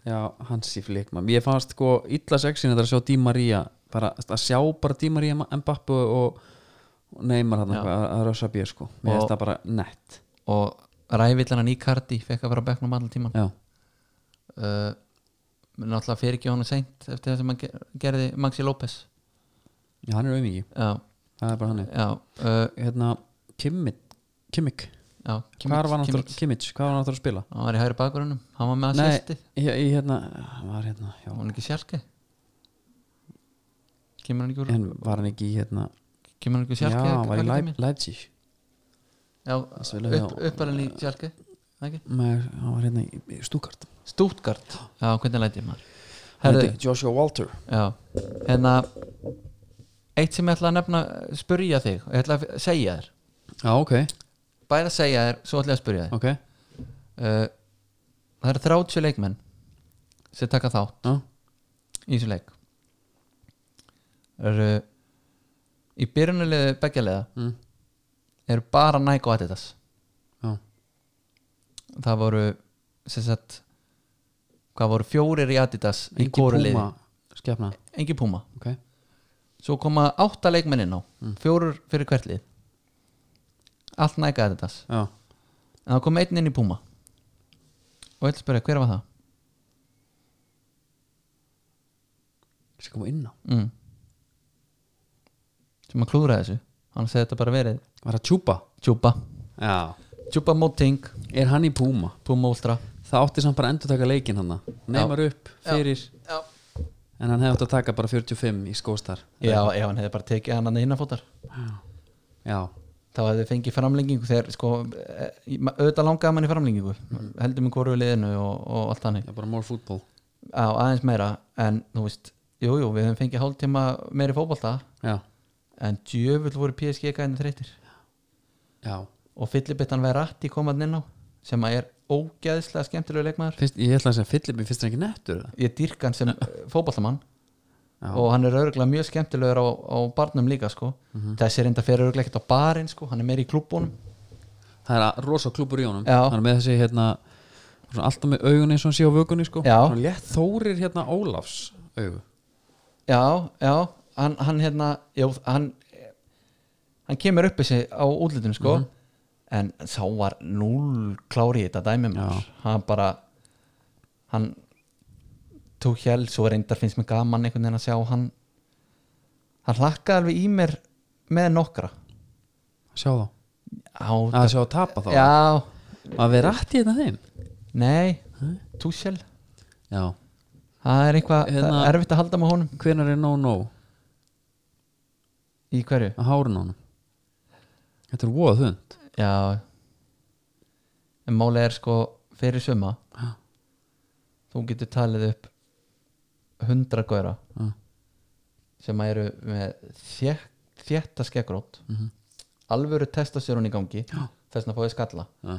Speaker 1: já, hansi flikmann ég fannst sko illa sexin þetta er að sjá Di Maria bara að sjá bara Di Maria Mbappu og, og Neymar hann
Speaker 2: Já.
Speaker 1: að, að rösa bér sko mér
Speaker 2: Og-
Speaker 1: finnst það bara nett
Speaker 2: og rævillan hann í kardi fekk að vera á bekknum allan tíman
Speaker 1: já,
Speaker 2: uh, náttúrulega fyrir ekki honum seint eftir það sem hann ge- gerði Maxi López
Speaker 1: já hann er auðviki
Speaker 2: já,
Speaker 1: það er bara hann
Speaker 2: já, uh,
Speaker 1: hérna, Kimmit Kimmik,
Speaker 2: já
Speaker 1: hvað var hann aftur-
Speaker 2: Kimmich.
Speaker 1: Kimmich, hvað var hann aftur að spila?
Speaker 2: hann var í hægri bakurunum, hann var með að
Speaker 1: Nei,
Speaker 2: sérsti
Speaker 1: í, í hérna, hann var hérna já,
Speaker 2: hann var ekki sjálke kemur hann ekki úr
Speaker 1: en var hann ekki í hérna
Speaker 2: kemur hann ekki úr
Speaker 1: já,
Speaker 2: sjálke
Speaker 1: hann var í Leipzig
Speaker 2: já,
Speaker 1: spilaði
Speaker 2: upp,
Speaker 1: hjá-
Speaker 2: uppalinn í sjálke ekki?
Speaker 1: Nei, hann var hérna í- í Stuttgart
Speaker 2: Stuttgart, já, hvernig lætið maður
Speaker 1: Hann
Speaker 2: Herðu,
Speaker 1: heitir Joshua Walter
Speaker 2: Já, hérna eitt sem ég ætla að nefna spurja þig, ég ætla að segja þér
Speaker 1: já, ok,
Speaker 2: bæði að segja þér, svo ætla ég að spurja þér
Speaker 1: ok
Speaker 2: uh, það eru 30 leikmenn sem taka þá
Speaker 1: já,
Speaker 2: í þessu leik það eru í byrjunulegu beggjaliða
Speaker 1: mm.
Speaker 2: eru bara Nike og Adidas
Speaker 1: já.
Speaker 2: það voru sem sagt hvað voru fjórir í Adidas í
Speaker 1: Engi
Speaker 2: hvoru liði.
Speaker 1: Puma skefna
Speaker 2: engin Puma
Speaker 1: okay.
Speaker 2: svo koma átta leikmennin á mm. fjórir fyrir hvert lið allt næka Adidas
Speaker 1: Já,
Speaker 2: en það kom einn inn í Puma og ég ætla að spyrja hver var það
Speaker 1: sem kom inn á
Speaker 2: mm. sem að klúðra þessu hann segði þetta bara verið
Speaker 1: Var það Chupa?
Speaker 2: Tjúpa,
Speaker 1: Já
Speaker 2: Tjúpa Moting
Speaker 1: Er hann í Puma?
Speaker 2: Puma Ultra
Speaker 1: Það átti samt bara að endur taka leikin hann Neymar upp fyrir
Speaker 2: já,
Speaker 1: En hann hefði átt að taka bara 45 í skóstar
Speaker 2: já, já hann hefði bara tekið hann að innafótar
Speaker 1: Já,
Speaker 2: þá hefði fengið framlengingu þegar sko, eh, ma- auðvitað langaði mann í framlengingu heldur mig hvoru liðinu og, og allt þannig
Speaker 1: það er bara more football
Speaker 2: á aðeins meira en þú veist, jújú, jú, við hefum fengið hálftíma meiri fótbolta
Speaker 1: Já,
Speaker 2: en djöfull voru PSG gæðinu þreytir
Speaker 1: já
Speaker 2: og fyllibittan Verratti kom hann inn á sem að er ógeðslega skemmtilegu leikmaður
Speaker 1: Fyrst, Ég ætla að segja Filipi fyrst er ekki nettur eða?
Speaker 2: ég dýrk hann sem eh, fótbollamann
Speaker 1: Já.
Speaker 2: og hann er örgulega mjög skemmtilegur á, á barnum líka sko þessi reynda fer örgulega ekkert á barinn sko hann er meiri í klubbónum
Speaker 1: Það er að rosa klúpur í honum
Speaker 2: Já.
Speaker 1: Hann er með þessi hérna svona Alltaf með augun eins og hann sé á vökunni sko
Speaker 2: Já.
Speaker 1: Svona létt Þórir hérna Ólafs augu
Speaker 2: já, já, hann, hann hérna já, hann hann kemur upp þessi á útlitinu sko en sá var núl klári í þetta dæmi maður hann bara hann tók hjæl, svo reyndar finnst mér gaman einhvern veginn að sjá hann hann hlakkaði alveg í mér með nokkra
Speaker 1: Sjá þá
Speaker 2: á,
Speaker 1: Að sjá að tapa þá
Speaker 2: já,
Speaker 1: Að vera rætti hérna þeim
Speaker 2: nei túsjæl,
Speaker 1: Já
Speaker 2: það er eitthvað
Speaker 1: Hérna-
Speaker 2: það er erfitt að halda með honum
Speaker 1: Hvenær er no-no
Speaker 2: í hverju,
Speaker 1: að hárun á honum Þetta er voða þund
Speaker 2: já en málið er sko fyrir suma
Speaker 1: Já.
Speaker 2: þú getur talið upp hundra góra
Speaker 1: Já.
Speaker 2: sem eru með þétt, þétta skeggrót
Speaker 1: Mhm.
Speaker 2: alvöru testa sér hún í gangi
Speaker 1: Já.
Speaker 2: þess að fóðið skalla
Speaker 1: Já,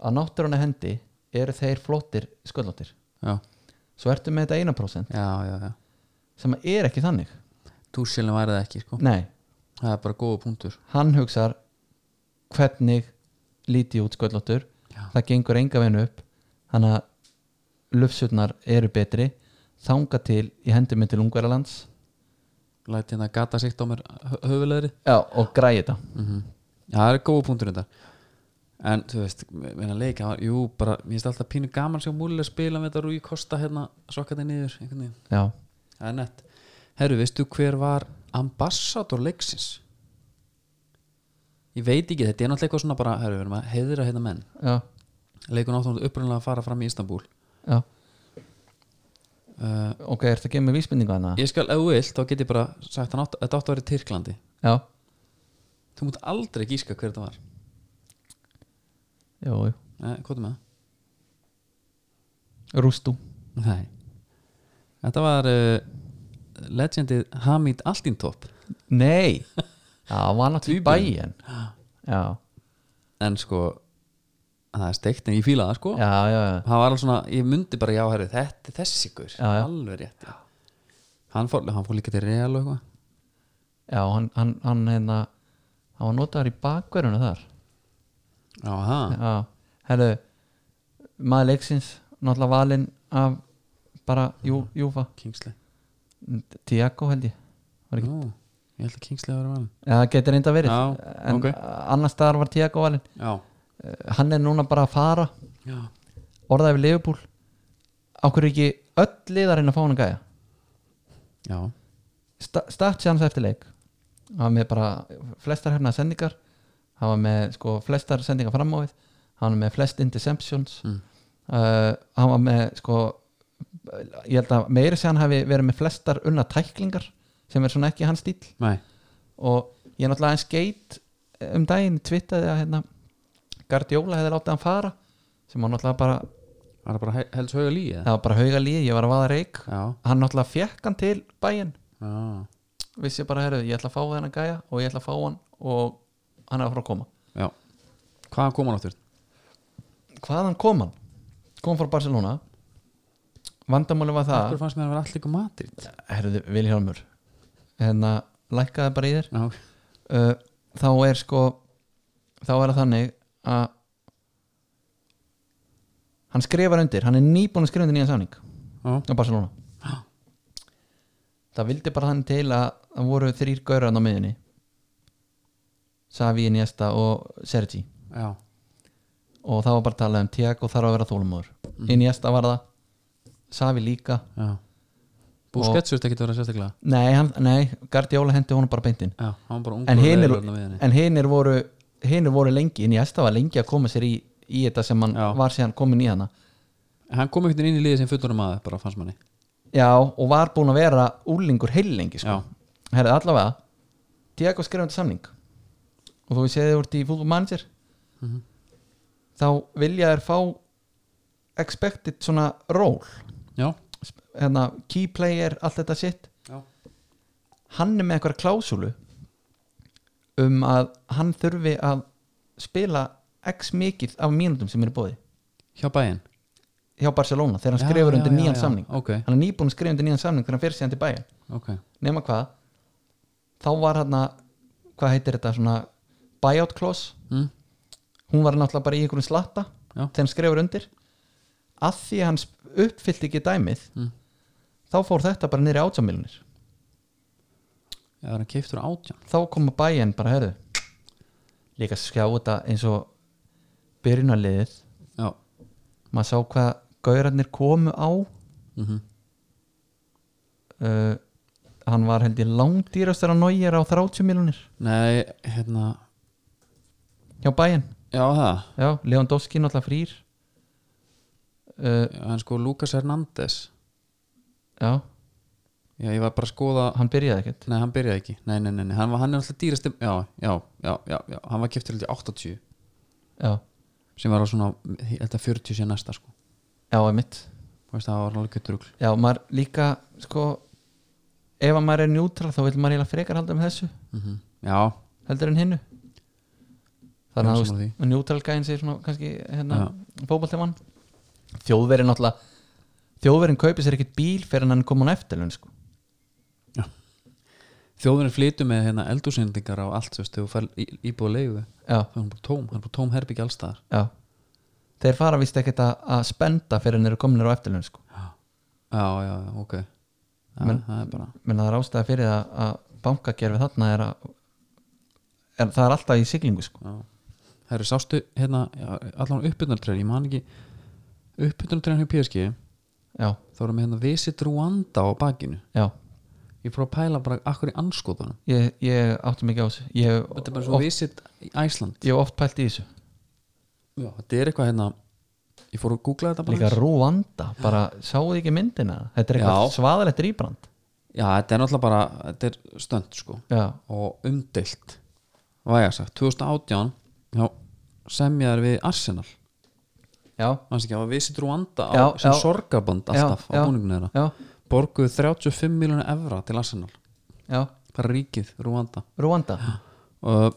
Speaker 2: að náttur hún hendi eru þeir flottir sköllóttir
Speaker 1: já,
Speaker 2: svo ertu með þetta 1%
Speaker 1: já, já, já.
Speaker 2: sem er ekki þannig
Speaker 1: Túsjölinn væri það ekki sko
Speaker 2: nei,
Speaker 1: Það er bara góða punktur
Speaker 2: hann hugsar hvernig líti ég út sköllóttur
Speaker 1: Já.
Speaker 2: það gengur enga veginn upp þannig að lufsutnar eru betri þanga til í hendi mig til Ungverjalands
Speaker 1: Læti hérna gata sikt á mér höfulegri
Speaker 2: Já, og græði þetta
Speaker 1: mm Já, það er góða punktur þetta En þú veist, meina leik hann var- Jú, bara, mér finnst alltaf pínu gaman sem múlilega spila með þetta Rúi Kosta hérna sokkandi niður einhvern veginn
Speaker 2: Já,
Speaker 1: Það er nett Herru, veistu hver var ambassador leiksins? Ég veit ekki, þetta er náttúrulega eitthvað svona bara Herru, við erum að heiðra hérna menn
Speaker 2: já,
Speaker 1: Leikun áttum upprunnilega að fara fram í Istanbul
Speaker 2: já
Speaker 1: uh,
Speaker 2: Ok, er þetta að gefa mér vísbendingu hana?
Speaker 1: Ég skal, ef þú vilt, þá get ég bara sagt hann átt, Þetta átt að vera í Tyrklandi
Speaker 2: Já,
Speaker 1: Þú mútt aldrei gíska hver þetta var
Speaker 2: já, já,
Speaker 1: Nei, hvað er með það?
Speaker 2: rústú
Speaker 1: Nei Þetta var uh, legendið Hamid Altintop
Speaker 2: Nei, já, það var náttúrulega í bæin Já,
Speaker 1: en sko það er steikt en ég fíla það sko
Speaker 2: já, já, já
Speaker 1: það var alveg svona, ég myndi bara já herri þetta er þessi ykkur,
Speaker 2: Já, já.
Speaker 1: alveg rétt já. hann, fór, hann fór líka til Real og eitthvað
Speaker 2: Já, hann, hann, hann, hérna hann var notaður í bakverjunu þar
Speaker 1: Já, ha,
Speaker 2: Já, herru maður leiksins, náttúrulega valinn af bara Jú, Júfa,
Speaker 1: Kingsley
Speaker 2: Tiago held ég Var ekki-
Speaker 1: Nú, ég held að Kingsley var valin
Speaker 2: Já, það getur reynda verið
Speaker 1: Já,
Speaker 2: en
Speaker 1: ok.
Speaker 2: annars staðar var Tiago valinn
Speaker 1: Já,
Speaker 2: Eh, hann er núna bara að fara
Speaker 1: já,
Speaker 2: orðaði við Leifupúl okkur ekki öll liðar inn að fá hann að gæja
Speaker 1: já
Speaker 2: Sta- Stats hans eftir leik hann var með bara flestar hérna sendingar hann var með sko flestar sendingar fram á við hann var með flest interceptions
Speaker 1: Mm.
Speaker 2: uh, hann var með sko ég held að meiri sér hann hafi verið með flestar unna tæklingar sem er svona ekki hans stíl
Speaker 1: Nei,
Speaker 2: og ég náttúrulega aðeins geit um daginn twittaði að hérna Guardiola hefði látið hann fara sem hann náttúrulega bara,
Speaker 1: var það bara he- helst hauga líi
Speaker 2: það var bara hauga líð ég var að vaða reik,
Speaker 1: Já,
Speaker 2: hann náttúrulega fekk hann til bæinn,
Speaker 1: já,
Speaker 2: vissi bara herru, ég ætla að fá þennan gæja og ég ætla að fá hann og hann er að fara að koma.
Speaker 1: já Hvaðan kom hann áttur?
Speaker 2: Hvaðan kom hann? Kom frá Barcelona vandamáli var
Speaker 1: Akkur
Speaker 2: það
Speaker 1: fannst mér að vera allir ykkur Madrid
Speaker 2: herruðu, Vilhjálmur hérna, lækkaði bara í þér
Speaker 1: Já,
Speaker 2: uh, þá er sko þá er það þannig að hann skrifar undir, hann er nýbúin að skrifa undir nýjan samning
Speaker 1: Já,
Speaker 2: á Barcelona
Speaker 1: Já.
Speaker 2: það vildi bara þannig til að það voru þrýr gauran á miðunni Savi, Iniesta og Sergi
Speaker 1: já,
Speaker 2: og það var bara að tala um Tiago þarf að vera þólumóður Iniesta var það Savi líka,
Speaker 1: já Búskets þurfti ekki að vera sérstaklega
Speaker 2: nei, hann, nei Guardiola hendi honum bara beintinn
Speaker 1: Já, hann var bara ungur
Speaker 2: en
Speaker 1: og
Speaker 2: hinir,
Speaker 1: leiðilegur þarna við henni.
Speaker 2: en hinir voru hinir voru lengi, Iniesta var lengi að koma sér í, í þetta sem hann
Speaker 1: Já.
Speaker 2: var síðan komin í hana
Speaker 1: Hann kom ekkert inn í liðið sem fullorðum maður bara fannst manni
Speaker 2: já, og var búin að vera úlingur heil lengi sko.
Speaker 1: Já.
Speaker 2: herrið allavega Tiago skrifaði samning og þú séði úr í fútbol manager
Speaker 1: Mhm.
Speaker 2: þá vilja þær fá expected svona role
Speaker 1: Já,
Speaker 2: Sp- hérna, key player, allt þetta sitt
Speaker 1: já,
Speaker 2: hann er með eitthvað klásulu um að hann þurfi að spila x mikið af mínútum sem er í bóði
Speaker 1: hjá bæinn
Speaker 2: hjá Barcelona þegar hann
Speaker 1: Já,
Speaker 2: skrifur
Speaker 1: já,
Speaker 2: undir
Speaker 1: já,
Speaker 2: nýjan
Speaker 1: já.
Speaker 2: samning
Speaker 1: Ok.
Speaker 2: hann er nýbúin að skrifa undir nýjan samning þegar hann fyrir síðan til bæja
Speaker 1: Ok,
Speaker 2: nema hvað þá var hann að hvað heitir þetta svona buyout clause
Speaker 1: mm,
Speaker 2: hún var náttúrulega bara í einhverjum slatta
Speaker 1: Já.
Speaker 2: þegar hann skrifur undir að því að hann sp- uppfyllti ekki dæmið
Speaker 1: Mm.
Speaker 2: þá fór þetta bara niður í átjámilunir
Speaker 1: já, hann keiftur átján
Speaker 2: þá koma bæjan bara herðu líka skjá þetta eins og byrjunarliðið
Speaker 1: Já,
Speaker 2: maður sá hvað gaurarnir komu á
Speaker 1: mhm
Speaker 2: uh, hann var held ég langdýrastur að nógir á 30 miljonir
Speaker 1: Nei, hérna
Speaker 2: hjá bæjan,
Speaker 1: Já, það
Speaker 2: já, Lewandowski náttúrulega frýr uh,
Speaker 1: En sko, Lucas Hernandez
Speaker 2: já,
Speaker 1: Já, ég var bara að skoða
Speaker 2: hann byrjaði ekkert
Speaker 1: Nei, hann byrjaði ekki Nei, nei, nei, nei. Hann, var, hann er alltaf dýrasti Já, já, já, já, já. Hann var keftur held í 80
Speaker 2: já,
Speaker 1: sem var á svona, þetta 40 sé næsta sko.
Speaker 2: já, einmitt
Speaker 1: Þú veist, það var alveg drugl
Speaker 2: já, maður líka, sko ef að maður er njútral þá vil maður eiginlega frekar halda með þessu
Speaker 1: mm Já,
Speaker 2: heldur en hinnu
Speaker 1: Já,
Speaker 2: þannig að
Speaker 1: sammála
Speaker 2: þú veist, neutral gæðin segir svona kannski hérna, fótboltamann þjóðverin náttúrulega þjóðverin kaupir sér ekkit bíl fyrir en hann kom hún eftir sko.
Speaker 1: þjóðurinn flytur með hérna, eldúsendingar á allt þú veist, þegar þú fær í- íbúð að leiðu
Speaker 2: já,
Speaker 1: þá er hann bara tóm, hann er bara tóm herbyggja allstaðar
Speaker 2: já þeir fara vist ekkit að, að spenda fyrir en eru kominir á eftirlaun sko.
Speaker 1: Já, já, já, ok Já,
Speaker 2: Men-
Speaker 1: það er bara
Speaker 2: menn það er ástæða fyrir að, að bankakerfi þarna er að er, það er alltaf í siglingu sko.
Speaker 1: Já. Herru, sástu hérna já, allan uppbytunartræðin, ég man ekki uppbytunartræðin hjá PSG
Speaker 2: já,
Speaker 1: þá erum við hérna Visit Rwanda á bakinu
Speaker 2: já
Speaker 1: ég fór að pæla bara akkur í anskotunum
Speaker 2: ég, ég átti mikið á þessu ég, hef
Speaker 1: þetta er bara svo
Speaker 2: oft-
Speaker 1: Visit Æsland
Speaker 2: ég hef oft pælt í þessu
Speaker 1: já. þetta er eitthvað hérna ég fór að googla þetta bara
Speaker 2: Líka
Speaker 1: aðeins.
Speaker 2: Rúanda, bara sáðu þið ekki myndina Þetta er eitthvað
Speaker 1: Já.
Speaker 2: svaðalegt rýbrand
Speaker 1: já, þetta er náttúrulega bara, þetta er stönd sko
Speaker 2: Já,
Speaker 1: og umdeilt væga sagt, 2018 já, semjaður við Arsenal
Speaker 2: já,
Speaker 1: mannst ekki, það var Visit Rwanda á,
Speaker 2: Já,
Speaker 1: sem
Speaker 2: já.
Speaker 1: sorgaband alltaf
Speaker 2: Já,
Speaker 1: á
Speaker 2: já.
Speaker 1: búninginu þeirra
Speaker 2: já,
Speaker 1: borguðu 35 miljónu evra til Arsenal
Speaker 2: já
Speaker 1: bara ríkið, Rwanda
Speaker 2: Rúanda,
Speaker 1: og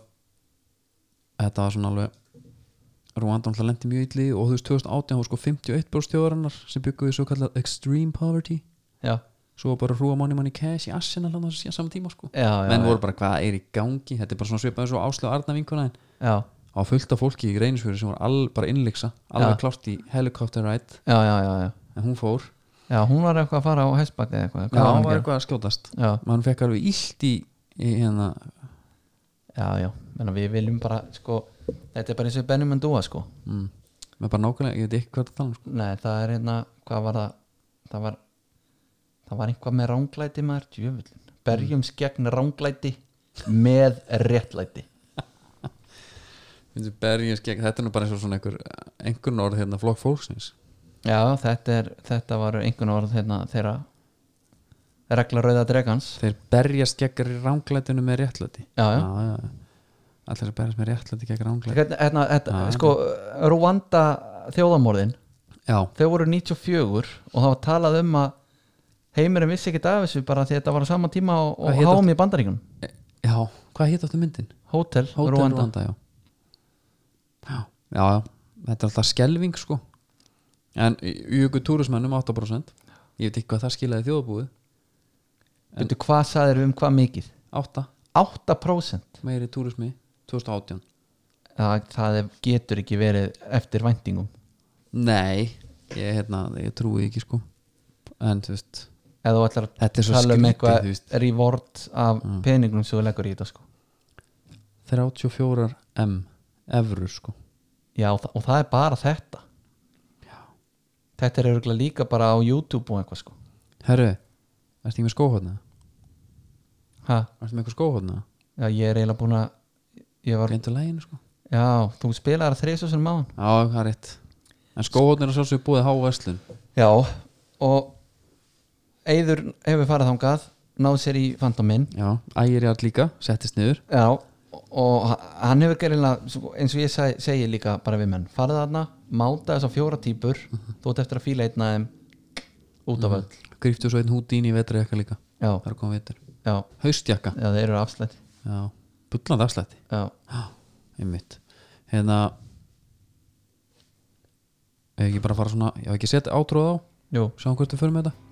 Speaker 1: þetta var svona alveg Rwanda alltaf lendi mjög illi og þú veist 2018 var sko 51 brústjóðarinnar sem bygguðu svo kallað extreme poverty
Speaker 2: já,
Speaker 1: svo var bara hrúa manni manni cash í Arsenal á þessu saman tíma sko
Speaker 2: já, já
Speaker 1: menn voru bara hvað er í gangi þetta er bara svona svipaði svo Áslu og Arna vinkuna þín
Speaker 2: Já,
Speaker 1: á fullt af fólki í Reynisfjöru sem var all, bara innlyksa alveg
Speaker 2: Já.
Speaker 1: klárt í helicopter ride
Speaker 2: já, já, já, já
Speaker 1: en hún fór
Speaker 2: Já, hún var eitthvað að fara á hestbakki eða eitthvað hvað
Speaker 1: hún
Speaker 2: hún að
Speaker 1: var
Speaker 2: gera?
Speaker 1: eitthvað að skjótast
Speaker 2: Já,
Speaker 1: mann fekk alveg illt í, í hérna
Speaker 2: já, já Menna, Við viljum bara, sko Þetta er bara eins og Benny Mendúa, sko
Speaker 1: mm, með bara nákvæmlega, ég veit ekki hvað það tala um sko.
Speaker 2: Nei, það er hérna, hvað var það Það var, það var eitthvað með ránglæti maður Djöfullin Berjumst gegn ránglæti með réttlæti
Speaker 1: Finnst þér berjast gegn- þetta er nú bara eins og svona einhver einhvern orð hérna flokk fólksins
Speaker 2: Já, þetta, er, þetta var einhvern orð hérna, þeirra regla rauða dregans
Speaker 1: þeir berjast gegn ránglætinu með réttlæti
Speaker 2: Já, já.
Speaker 1: já, já. allir að berjast með réttlæti gegn ránglæti
Speaker 2: hérna, hérna, hérna,
Speaker 1: Já,
Speaker 2: sko, Rúanda þjóðamorðin,
Speaker 1: já,
Speaker 2: þau voru 94 og það var talað um að heimurinn vissi ekkert af þessu bara því þetta var á sama tíma og,
Speaker 1: Hvað
Speaker 2: og
Speaker 1: hét
Speaker 2: háum í bandaríkun
Speaker 1: E- já, hvað hétt áttu myndin?
Speaker 2: Hótel,
Speaker 1: Hótel
Speaker 2: Rúanda
Speaker 1: Rwanda, já. já já, já, þetta er alltaf skelving sko en jöku túrismennum 8% ég veit ekki hvað það skilaði þjóðabúið
Speaker 2: Veitu, hvað sagðir um hvað mikið?
Speaker 1: 8
Speaker 2: 8%
Speaker 1: meiri túrismi 2018
Speaker 2: það, það er- getur ekki verið eftir væntingum
Speaker 1: nei, ég, hérna, ég trúi ekki sko en þú veist,
Speaker 2: eða þú ætlar að
Speaker 1: þetta er svo
Speaker 2: tala um
Speaker 1: skrítið
Speaker 2: eitthvað
Speaker 1: þú veist,
Speaker 2: reward af
Speaker 1: Mm.
Speaker 2: peningum sem þú leggur í þetta sko
Speaker 1: 34 M evrur sko
Speaker 2: já og, þa og það er bara þetta þetta er örgulega líka bara á YouTube og eitthvað sko
Speaker 1: herru, ertu ekki með skóhóðna?
Speaker 2: ha?
Speaker 1: ertu með eitthvað skóhóðna?
Speaker 2: já ég er eiginlega búin að ég var,
Speaker 1: reyndu læginu sko
Speaker 2: já þú spilaðar þrið sem máðan
Speaker 1: já, það er rétt en skóhóðna er að sjálfsögðu búið að háa verslun
Speaker 2: já og Eður hefur farið þangað náð sér í fantominn
Speaker 1: já, ægirjart líka, settist niður
Speaker 2: Já, og hann hefur gerinlega eins og ég seg, segi líka bara við menn farið þarna, máta þess að fjóra típur þú ert eftir að fíla einn af þeim út af öll
Speaker 1: gríftu svo einn hút í vetri jakka líka
Speaker 2: já,
Speaker 1: það er komið vetur,
Speaker 2: já,
Speaker 1: haustjakka
Speaker 2: já, þeir eru afslætt
Speaker 1: já, bullandi afslætti
Speaker 2: já,
Speaker 1: Já, einmitt hérna ef ekki bara fara svona já ekki setja átrúð á,
Speaker 2: jú,
Speaker 1: sjáum hvert við förum með þetta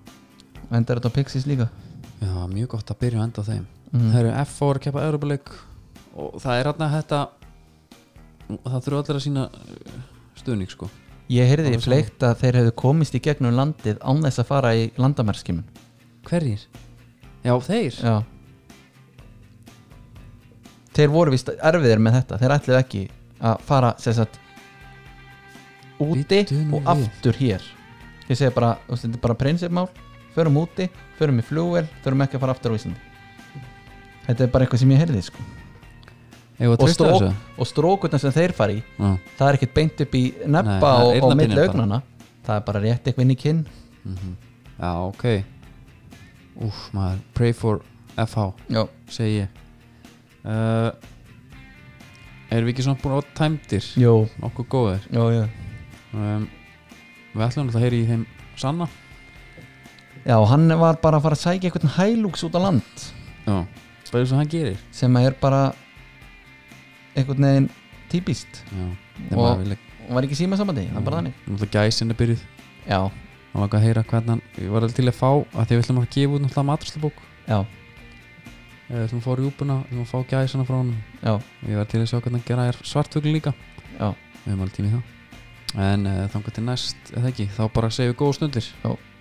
Speaker 2: endur þetta á Pixies líka
Speaker 1: já, mjög gott að byrja að enda á þeim
Speaker 2: Mhm.
Speaker 1: það eru F4 að kepa Europaleik og það er hérna þetta það þurfa allir að sína stuðning sko
Speaker 2: ég heyrði
Speaker 1: Alveg
Speaker 2: í fleikt að þeir hefðu komist í gegnum landið án þess að fara í landamærskimun
Speaker 1: hverjir? já, þeir
Speaker 2: já þeir voru vist erfiðir með þetta þeir ætluðu ekki að fara sem sagt, úti
Speaker 1: Bíddu nú
Speaker 2: og
Speaker 1: við.
Speaker 2: aftur hér ég segi bara, þú veist, þetta er bara prinsipmál förum úti, förum í flugvel þurfum ekki að fara aftur á Íslandi þetta er bara eitthvað sem ég heyrði sko.
Speaker 1: Eigum við að
Speaker 2: og,
Speaker 1: treysta
Speaker 2: strók,
Speaker 1: þessu?
Speaker 2: og strókurna sem þeir fari í
Speaker 1: Já.
Speaker 2: það er ekkert beint upp í
Speaker 1: Nei,
Speaker 2: neppa
Speaker 1: það er
Speaker 2: og, og
Speaker 1: eyrnabeinin
Speaker 2: milli
Speaker 1: bara.
Speaker 2: augnana það er bara rétt eitthvað inn í kinn
Speaker 1: Mhm. já, ok úf, maður, pray for FH
Speaker 2: já,
Speaker 1: segi ég uh, erum við ekki svona búin að tæmdir
Speaker 2: jú,
Speaker 1: nokkuð góðir
Speaker 2: jú, jú.
Speaker 1: um, við ætlum alltaf að heyra í þeim sanna
Speaker 2: já, hann var bara að fara að sækja eitthvað hælúks út á land
Speaker 1: já, bara eins og hann gerir
Speaker 2: sem er bara einhvern veginn típist
Speaker 1: já,
Speaker 2: Og-
Speaker 1: og, vilja,
Speaker 2: og var ekki síma samandi, það er bara þannig
Speaker 1: náttúrulega gæsin er hérna byrjuð
Speaker 2: Mm. já,
Speaker 1: og langa að heyra hvernig hann ég var alveg til að fá að því við ætlum að gefa út náttúrulega maturslubók
Speaker 2: já,
Speaker 1: við ætlum að fá rjúpuna, við ætlum að fá gæsina frá hann
Speaker 2: já,
Speaker 1: ég var til að sjá hvernig hann gera er svartfugl líka
Speaker 2: já
Speaker 1: eh, við höfum alveg tími þá en uh, þangar til næst, eða ekki, þá bara segjum við góða stundir
Speaker 2: Já.